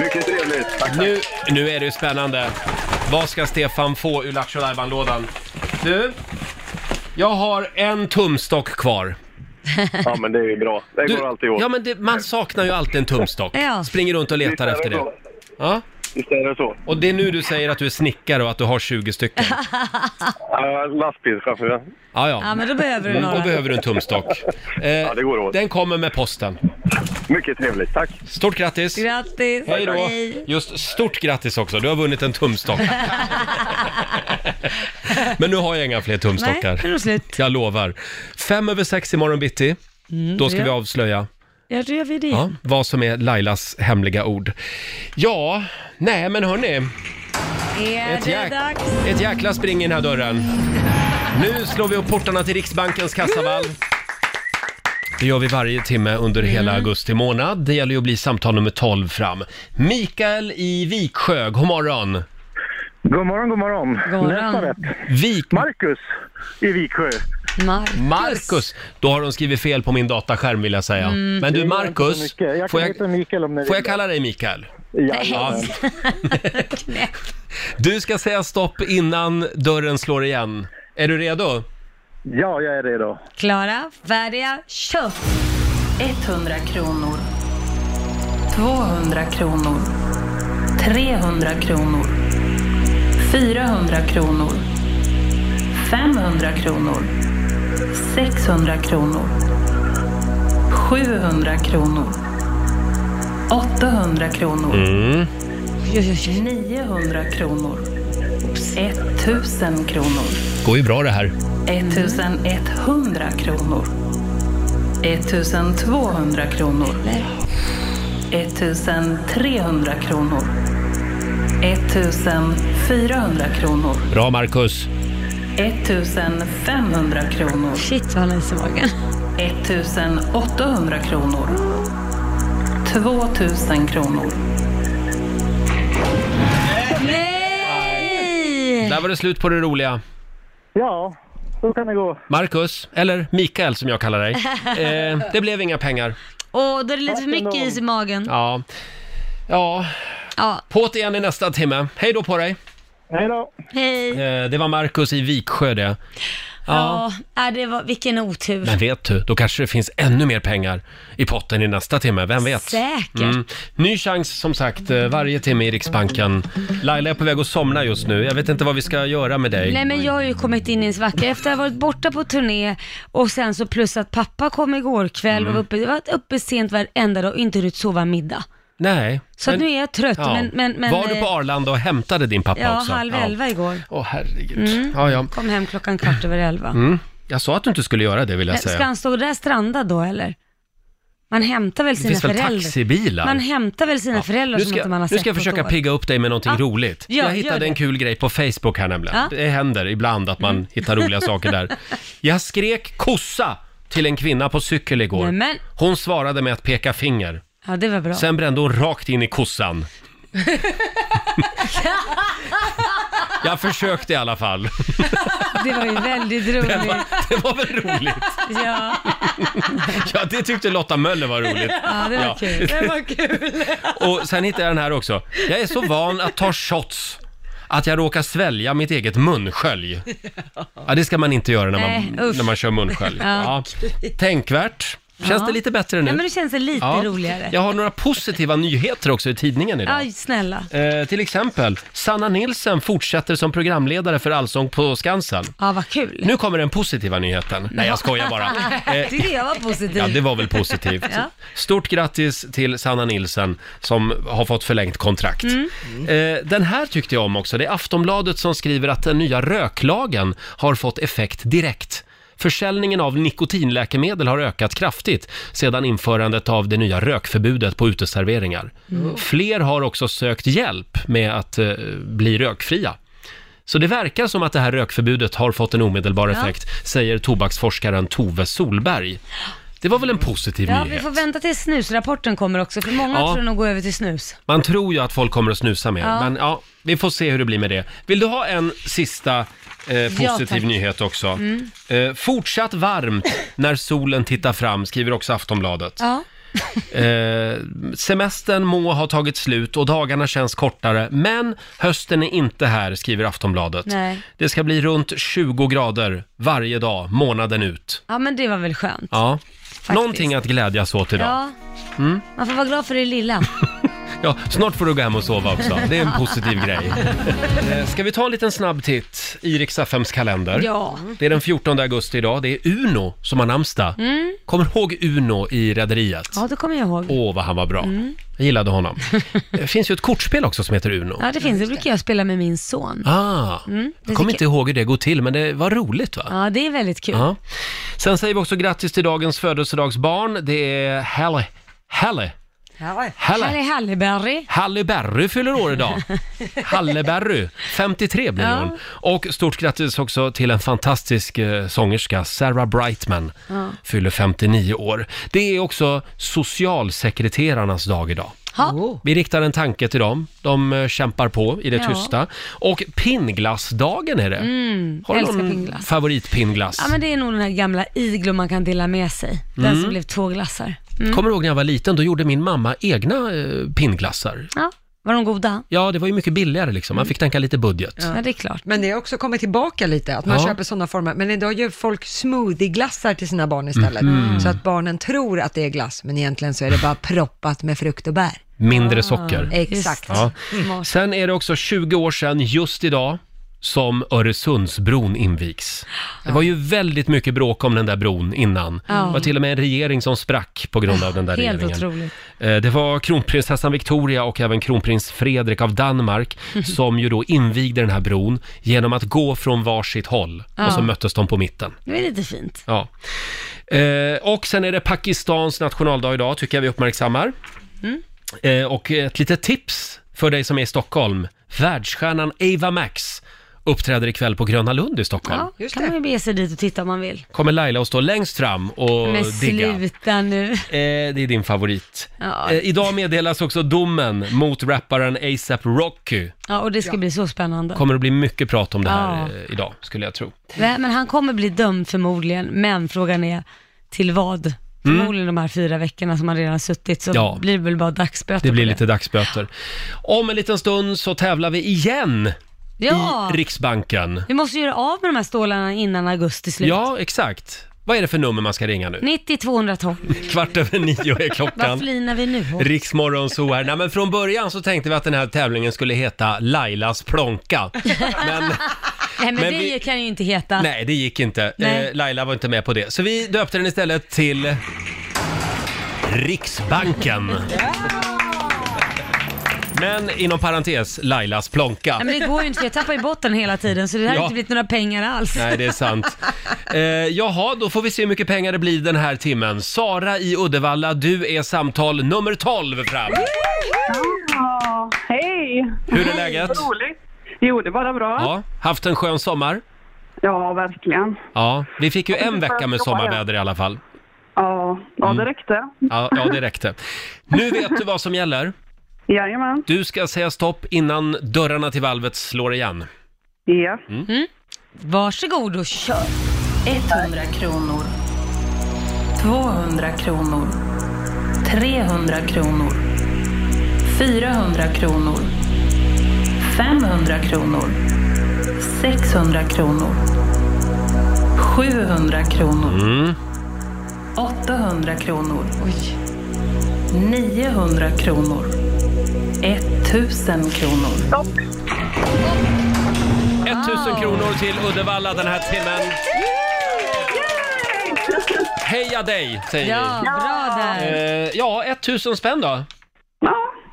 S14: Mycket trevligt.
S1: Nu, nu är det ju spännande. Vad ska Stefan få ur Lattjo lådan Du, jag har en tumstock kvar.
S14: Ja, men det är ju bra. Det
S1: Du-
S14: går alltid åt.
S1: Ja, men det, man saknar ju alltid en tumstock.
S14: Ja.
S1: Springer runt och
S14: Visst
S1: letar
S14: är det
S1: efter det.
S14: så.
S1: Ja.
S14: Visst är det så.
S1: Och det är nu du säger att du är snickare och att du har 20 stycken.
S14: Ja, lastbilschauffören.
S1: Ja, ja.
S2: Ja, men då behöver du
S1: Mm,
S2: några.
S1: Då behöver du en tumstock. ja, det går åt. Den kommer med posten.
S14: Mycket trevligt, tack.
S1: Stort grattis!
S2: Grattis!
S1: Hej då! Just stort grattis också, du har vunnit en tumstock. Men nu har jag inga fler
S2: Nej,
S1: tumstockar.
S2: nu är det slut.
S1: Jag lovar. Fem över sex imorgon bitti,
S2: Mm,
S1: då ska
S2: ja.
S1: vi avslöja
S2: Ja, då gör vi det.
S1: ja, vad som är Lailas hemliga ord. Ja, nej men hörni.
S2: Är
S1: Ett
S2: det
S1: jäk-
S2: dags?
S1: Ett jäkla spring i den här dörren. Nu slår vi upp portarna till Riksbankens kassavalv. Det gör vi varje timme under
S2: Mm.
S1: hela augusti månad. Det gäller ju att bli samtal nummer 12 fram. Mikael i Viksjö, god morgon.
S14: God morgon, god morgon.
S2: God morgon. Nästa
S14: rätt.
S1: Vik...
S14: Marcus i Viksjö.
S2: Marcus.
S1: Marcus! Då har de skrivit fel på min dataskärm vill jag säga.
S14: Mm.
S1: Men du
S14: Det gör inte så
S1: Marcus,
S14: mycket. Jag kan
S1: får
S14: heta Mikael om ni
S1: får jag
S14: vill.
S1: kalla dig Mikael?
S14: Jajamän.
S1: Du ska säga stopp innan dörren slår igen. Är du redo?
S14: Ja, jag är redo.
S2: Klara, färdiga, kör!
S6: 100 kronor. 200 kronor. 300 kronor. 400 kronor. 500 kronor. 600 kronor. 700 kronor. 800 kronor.
S1: Mm.
S6: 900 kronor. 1000 kronor.
S1: Går ju bra det här.
S6: 1100 kronor. 1200 kronor. 1300 kronor. 1400 kronor.
S1: Bra Marcus.
S6: 1500 kronor.
S2: Shit vad han är så magen.
S6: 1800 kronor. 2000 kronor.
S2: Nej!
S1: Där var det slut på det roliga.
S5: 哦
S14: Ja, så kan det gå.
S1: Marcus, eller Mikael som jag kallar dig. Eh, det blev inga pengar.
S2: Åh, då är det lite för mycket is i magen.
S1: Ja. Ja.
S2: ja.
S1: På't igen i nästa timme. Hej då på dig.
S14: Hej då.
S2: Hej.
S1: Eh, det var Marcus i Viksjö det. Ja.
S2: Ja, ja det var, vilken otur.
S1: Men vet du, då kanske det finns ännu mer pengar i potten i nästa timme. Vem vet? Mm.
S2: Säkert.
S1: Ny chans som sagt eh, varje timme i Riksbanken. Laila är på väg att somna just nu. Jag vet inte vad vi ska göra med dig.
S2: Nej men jag har ju kommit in i en svacka efter att ha varit borta på turné och sen så plus att pappa kom igår kväll
S1: Mm.
S2: och var uppe, jag har varit uppe sent varenda dag och inte hunnit sova middag.
S1: Nej.
S2: Så att nu är jag trött, men- men- men,
S1: Var du på
S2: eh,
S1: Arlanda och hämtade din pappa
S2: ja,
S1: också?
S2: halv elva igår.
S1: Åh herregud.
S2: Mm.
S1: Ja, ja.
S2: Kom hem klockan kvart över elva.
S1: Mm. Jag sa att du inte skulle göra det vill jag
S2: Men
S1: säga.
S2: Ska han stå där strandad då eller? Man hämtar väl
S1: Det
S2: sina
S1: finns väl
S2: föräldrar?
S1: taxibilar?
S2: Man hämtar väl sina föräldrar
S1: Nu
S2: som
S1: ska,
S2: inte man har
S1: nu
S2: sett
S1: ska jag
S2: på ett
S1: försöka
S2: år.
S1: pigga upp dig med någonting
S2: Ja,
S1: roligt.
S2: gör-
S1: jag
S2: gör
S1: hittade
S2: det.
S1: en kul grej på Facebook här nämligen.
S2: Ja. Mm.
S1: Det händer ibland att man hittar roliga saker där. Jag skrek kossa till en kvinna på cykel igår.
S2: Nämen.
S1: Hon svarade med att peka finger.
S2: Ja, det var bra.
S1: Sen brände hon rakt in i kossan. Jag försökte i alla fall.
S2: Det var ju väldigt roligt.
S1: Det var, det var väl roligt?
S2: Ja,
S1: Ja, det tyckte Lotta Möller var roligt.
S2: ja, det var
S1: Ja.
S2: kul. Det var kul.
S1: Och sen hittade jag den här också. Jag är så van att ta shots. Att jag råkar svälja mitt eget munskölj. Ja, det ska man inte göra när man,
S2: Nej, usch.
S1: när man kör munskölj.
S2: Ja.
S1: Ja. Tänkvärt. Känns
S2: Ja.
S1: det lite bättre nu?
S2: Ja, men det känns lite
S1: Ja.
S2: roligare.
S1: Jag har några positiva nyheter också i tidningen idag.
S2: Aj, snälla.
S1: Eh, till exempel, Sanna Nilsson fortsätter som programledare för Allsång på Skansen.
S2: Ja, vad kul.
S1: Nu kommer den positiva nyheten. Nej, jag skojar bara. Eh,
S2: Tyckte jag var positiv.
S1: Ja, det var väl positivt.
S2: Ja.
S1: Stort grattis till Sanna Nilsson som har fått förlängt kontrakt.
S2: Mm.
S1: Eh, den här tyckte jag om också. Det är Aftonbladet som skriver att den nya röklagen har fått effekt direkt. Försäljningen av nikotinläkemedel har ökat kraftigt sedan införandet av det nya rökförbudet på uteserveringar.
S13: Mm.
S1: Fler har också sökt hjälp med att eh, bli rökfria. Så det verkar som att det här rökförbudet har fått en omedelbar
S2: Ja.
S1: effekt, säger tobaksforskaren Tove Solberg. Det var väl en positiv
S2: Ja, vi
S1: nyhet?
S2: får vänta tills snusrapporten kommer också, för många
S1: Ja.
S2: tror nog går över till snus.
S1: Man tror ju att folk kommer att snusa mer,
S2: Ja.
S1: men ja, vi får se hur det blir med det. Vill du ha en sista eh, positiv
S2: tack.
S1: nyhet också?
S2: Mm.
S1: Eh, fortsatt varmt när solen tittar fram, skriver också Aftonbladet.
S2: Ja.
S1: Eh, semestern må ha tagit slut och dagarna känns kortare, men hösten är inte här, skriver Aftonbladet.
S2: Nej.
S1: Det ska bli runt 20 grader varje dag, månaden ut.
S2: ja, men det var väl skönt.
S1: Ja. Någonting att glädjas åt idag.
S2: Ja,
S1: Mm.
S2: man får vara glad för det lilla.
S1: Ja, snart får du gå hem och sova också. Det är en
S2: Ja.
S1: positiv grej. Eh, Ska vi ta en liten snabb titt i Rix FMs kalender?
S2: Ja.
S1: Det är den 14 augusti idag. Det är Uno som har namnsdag.
S2: Mm.
S1: Kommer du ihåg Uno i Rederiet?
S2: Ja, det kommer jag ihåg.
S1: Åh, vad han var bra.
S2: Mm.
S1: Jag gillade honom. Det finns ju ett kortspel också som heter Uno.
S2: Ja, det finns. Det brukar jag spela med min son.
S1: Ah,
S2: Mm, det
S1: jag kommer
S2: tycker-
S1: inte Ah. ihåg hur det går till, men det var roligt va?
S2: Ja, det är väldigt kul.
S1: Ja. Sen säger vi också grattis till dagens födelsedagsbarn. Det är Halle, Halle,
S2: Halle.
S1: Halle.
S2: Halle Halleberry.
S1: Halle Berry fyller år idag. Halle Berry, 53 blir
S2: Ja.
S1: hon. Och stort grattis också till en fantastisk eh, sångerska, Sarah Brightman,
S2: Ja.
S1: fyller 59 år. Det är också socialsekreterarnas dag idag.
S2: Ha.
S1: Vi riktar en tanke till dem. De eh, kämpar på i det
S2: Ja.
S1: tysta. Och pinnglassdagen är det.
S2: Mm,
S1: Har du
S2: älskar
S1: någon
S2: pinnglass.
S1: favoritpinnglass?
S2: Ja, men det är nog den här gamla iglo man kan dela med sig. Den
S1: Mm.
S2: som blev två glassar. Mm.
S1: Kommer du ihåg när jag var liten? Då gjorde min mamma egna eh, pinnglassar.
S2: Ja, var de goda?
S1: Ja, det var ju mycket billigare liksom. Man fick tänka lite budget.
S2: Mm. Ja, det är klart.
S3: Men det har också kommit tillbaka lite, att man
S1: Ja.
S3: köper sådana former. Men idag gör folk smoothieglassar till sina barn istället.
S1: Mhm.
S3: Så att barnen tror att det är glass, men egentligen så är det bara proppat med frukt och bär. Ah,
S1: Mindre
S2: Ah,
S1: socker.
S3: Exakt.
S1: Ja.
S3: Mm.
S1: Sen är det också 20 år sedan just idag som Öresundsbron invigs. Det var ju väldigt mycket bråk om den där bron innan.
S2: Ja.
S1: Det var till och med en regering som sprack på grund av den där
S2: Helt
S1: regeringen.
S2: otroligt.
S1: Eh, Det var kronprinsessan Victoria och även kronprins Fredrik av Danmark som ju då invigde den här bron genom att gå från varsitt håll
S2: Ja.
S1: och så möttes de på mitten.
S2: Det är lite fint.
S1: Ja. Eh, och sen är det Pakistans nationaldag idag, tycker jag vi uppmärksammar.
S2: Mm.
S1: Eh, och ett litet tips för dig som är i Stockholm. Världsstjärnan Ava Max uppträder ikväll på Gröna Lund i Stockholm.
S2: Ja, kan man ju bege sig dit och titta om man vill.
S1: Kommer Laila att stå längst fram och
S2: Men
S1: digga.
S2: sluta nu.
S1: Eh, det är din favorit.
S2: Ja.
S1: Eh, idag meddelas också domen mot rapparen ASAP Rocky.
S2: Ja, och det ska bli så spännande.
S1: Kommer att bli mycket prat om det här
S2: Ja.
S1: eh, idag, skulle jag tro.
S2: Nej, men han kommer bli dömd förmodligen, men frågan är till vad? Förmodligen de här fyra veckorna som han redan har suttit, så
S1: Ja.
S2: blir det väl bara dagsböter
S1: Det blir
S2: på
S1: lite dagsböter. Om en liten stund så tävlar vi igen
S2: Ja.
S1: i Riksbanken.
S2: Vi måste göra av med de här stålarna innan augusti slut.
S1: Ja, exakt. Vad är det för nummer man ska ringa nu?
S2: 90 212.
S1: Kvart över nio är
S2: Vad
S1: klockan.
S2: flinar vi nu åt?
S1: Riksmorgon så här. Nej, men från början så tänkte vi att den här tävlingen skulle heta Lailas plånka.
S2: Nej men,
S1: men
S2: det
S1: vi-
S2: kan ju inte heta.
S1: Nej, det gick inte.
S2: Nej.
S1: Eh, Laila var inte med på det. Så vi döpte den istället till Riksbanken. Men inom parentes, Lailas plånka.
S2: Nej men det går ju inte för jag tappar ju botten hela tiden så det här
S1: Ja.
S2: har inte blivit några pengar alls.
S1: Nej, det är sant. Eh, jaha, då får vi se hur mycket pengar det blir den här timmen. Sara i Uddevalla, du är samtal nummer 12 fram.
S15: Ja, hej!
S1: Hur är läget?
S15: Vad roligt. Jo, det är bara bra.
S1: Ja, haft en skön sommar?
S15: Ja, verkligen.
S1: Ja, vi fick ju
S15: Jag
S1: en
S15: fick
S1: vecka
S15: börja
S1: med
S15: jobba
S1: sommarväder i alla fall.
S15: Ja,
S1: Mm.
S15: ja det räckte.
S1: Ja, ja, det räckte. Nu vet du vad som gäller.
S15: Jajamän.
S1: Du ska säga stopp innan dörrarna till valvet slår igen.
S15: Ja.
S1: Mm.
S2: Varsågod och kör.
S6: 100 kronor. 200 kronor. 300 kronor. 400 kronor. 500 kronor. 600 kronor. 700 kronor.
S1: Mm.
S6: 800 kronor. 900 kronor. 1000 kronor.
S1: 1000 kronor till Uddevalla den här timmen. Heja dig, säger
S2: Ja,
S1: vi.
S2: bra där.
S1: Eh, ja, 1000 spänn då.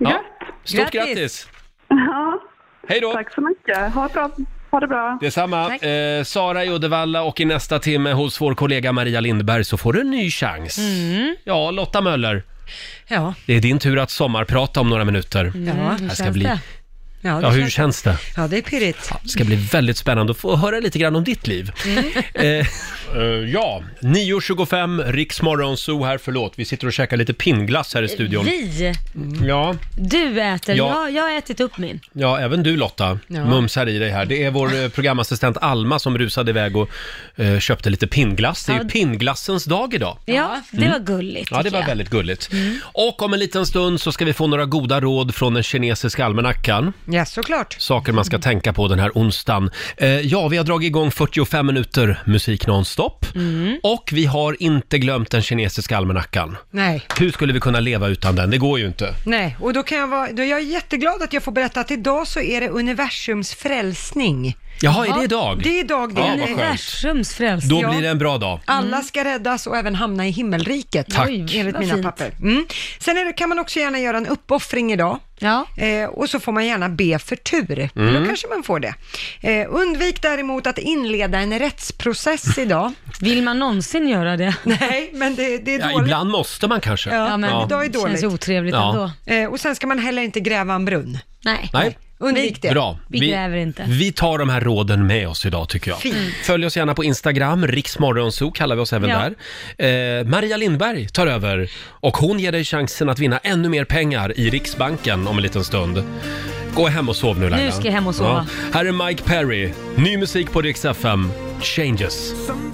S1: Ja, Stort grattis.
S15: Ja.
S1: Hej då.
S15: Tack så mycket. Ha, bra. ha det bra.
S1: Detsamma.
S15: Tack.
S1: Eh, Sara i Uddevalla och i nästa timme hos vår kollega Maria Lindberg så får du en ny chans. Ja, Lotta Möller.
S3: Ja.
S1: Det är din tur att sommarprata om några minuter.
S2: Mm,
S3: Ja, Mm. hur
S1: det ska
S3: känns
S1: bli...
S3: det? Ja, det
S1: Ja, hur
S3: känns-
S1: känns det?
S3: Ja, det är pirrigt.
S1: Det ska bli väldigt spännande att få höra lite grann om ditt liv.
S2: Mm.
S1: Eh, eh, ja, 9.25, Riksmorgon Zoo här, förlåt. Vi sitter och käkar lite pinnglass här i studion.
S2: Vi,
S1: Ja,
S2: du äter,
S1: Ja.
S2: jag, jag har ätit upp min.
S1: ja, även du Lotta
S2: Ja.
S1: mumsar i dig här. Det är vår eh, programassistent Alma som rusade iväg och eh, köpte lite pinnglass. Det är ju
S2: Ja.
S1: pinnglassens dag idag.
S2: Ja, det
S1: Mm.
S2: var gulligt.
S1: Ja, det
S2: tycker
S1: var
S2: jag.
S1: väldigt gulligt.
S3: Mm.
S1: Och om en liten stund så ska vi få några goda råd från den kinesiska almanackan.
S3: Ja, såklart.
S1: Saker man ska tänka på den här onsdagen. Eh, ja, vi har dragit igång 45 minuter musik nonstop.
S3: Mm.
S1: Och vi har inte glömt den kinesiska almanackan.
S3: Nej.
S1: Hur skulle vi kunna leva utan den? Det går ju inte.
S3: Nej, och då kan jag vara, då är jag jätteglad att jag får berätta att idag så är det universums frälsning.
S1: Jaha, är det idag?
S3: Det är idag det.
S1: Ja, vad skönt. Universums
S3: frälsning.
S1: Då blir det en bra dag.
S3: Alla ska räddas och även hamna i himmelriket.
S1: Tack. Oj,
S3: Enligt
S1: vad
S3: mina
S1: fint.
S3: papper. Mm. Sen är det, kan man också gärna göra en uppoffring idag.
S2: Ja.
S3: Eh, och så får man gärna be för tur.
S13: Mm.
S3: Då kanske man får det. Eh, undvik däremot att inleda en rättsprocess idag.
S2: Vill man någonsin göra det?
S3: Nej, men det, det är dåligt.
S1: Ja, ibland måste man kanske.
S3: Ja, men idag är
S2: det känns
S3: dåligt.
S2: ju otrevligt Ja. ändå.
S3: Eh, och sen ska man heller inte gräva en brunn.
S2: Nej.
S1: Nej.
S3: Undvik det.
S1: Bra. Vi tar de här råden med oss idag tycker jag.
S3: Fint.
S1: Följ oss gärna på Instagram, riksmorgonzoo kallar vi oss även
S3: Ja.
S1: där. Eh, Maria Lindberg tar över och hon ger dig chansen att vinna ännu mer pengar i Riksbanken om en liten stund. Gå hem och sov nu Laila.
S2: Nu ska jag hem och sova.
S1: Här är Mike Perry, ny musik på Rix FM, Changes.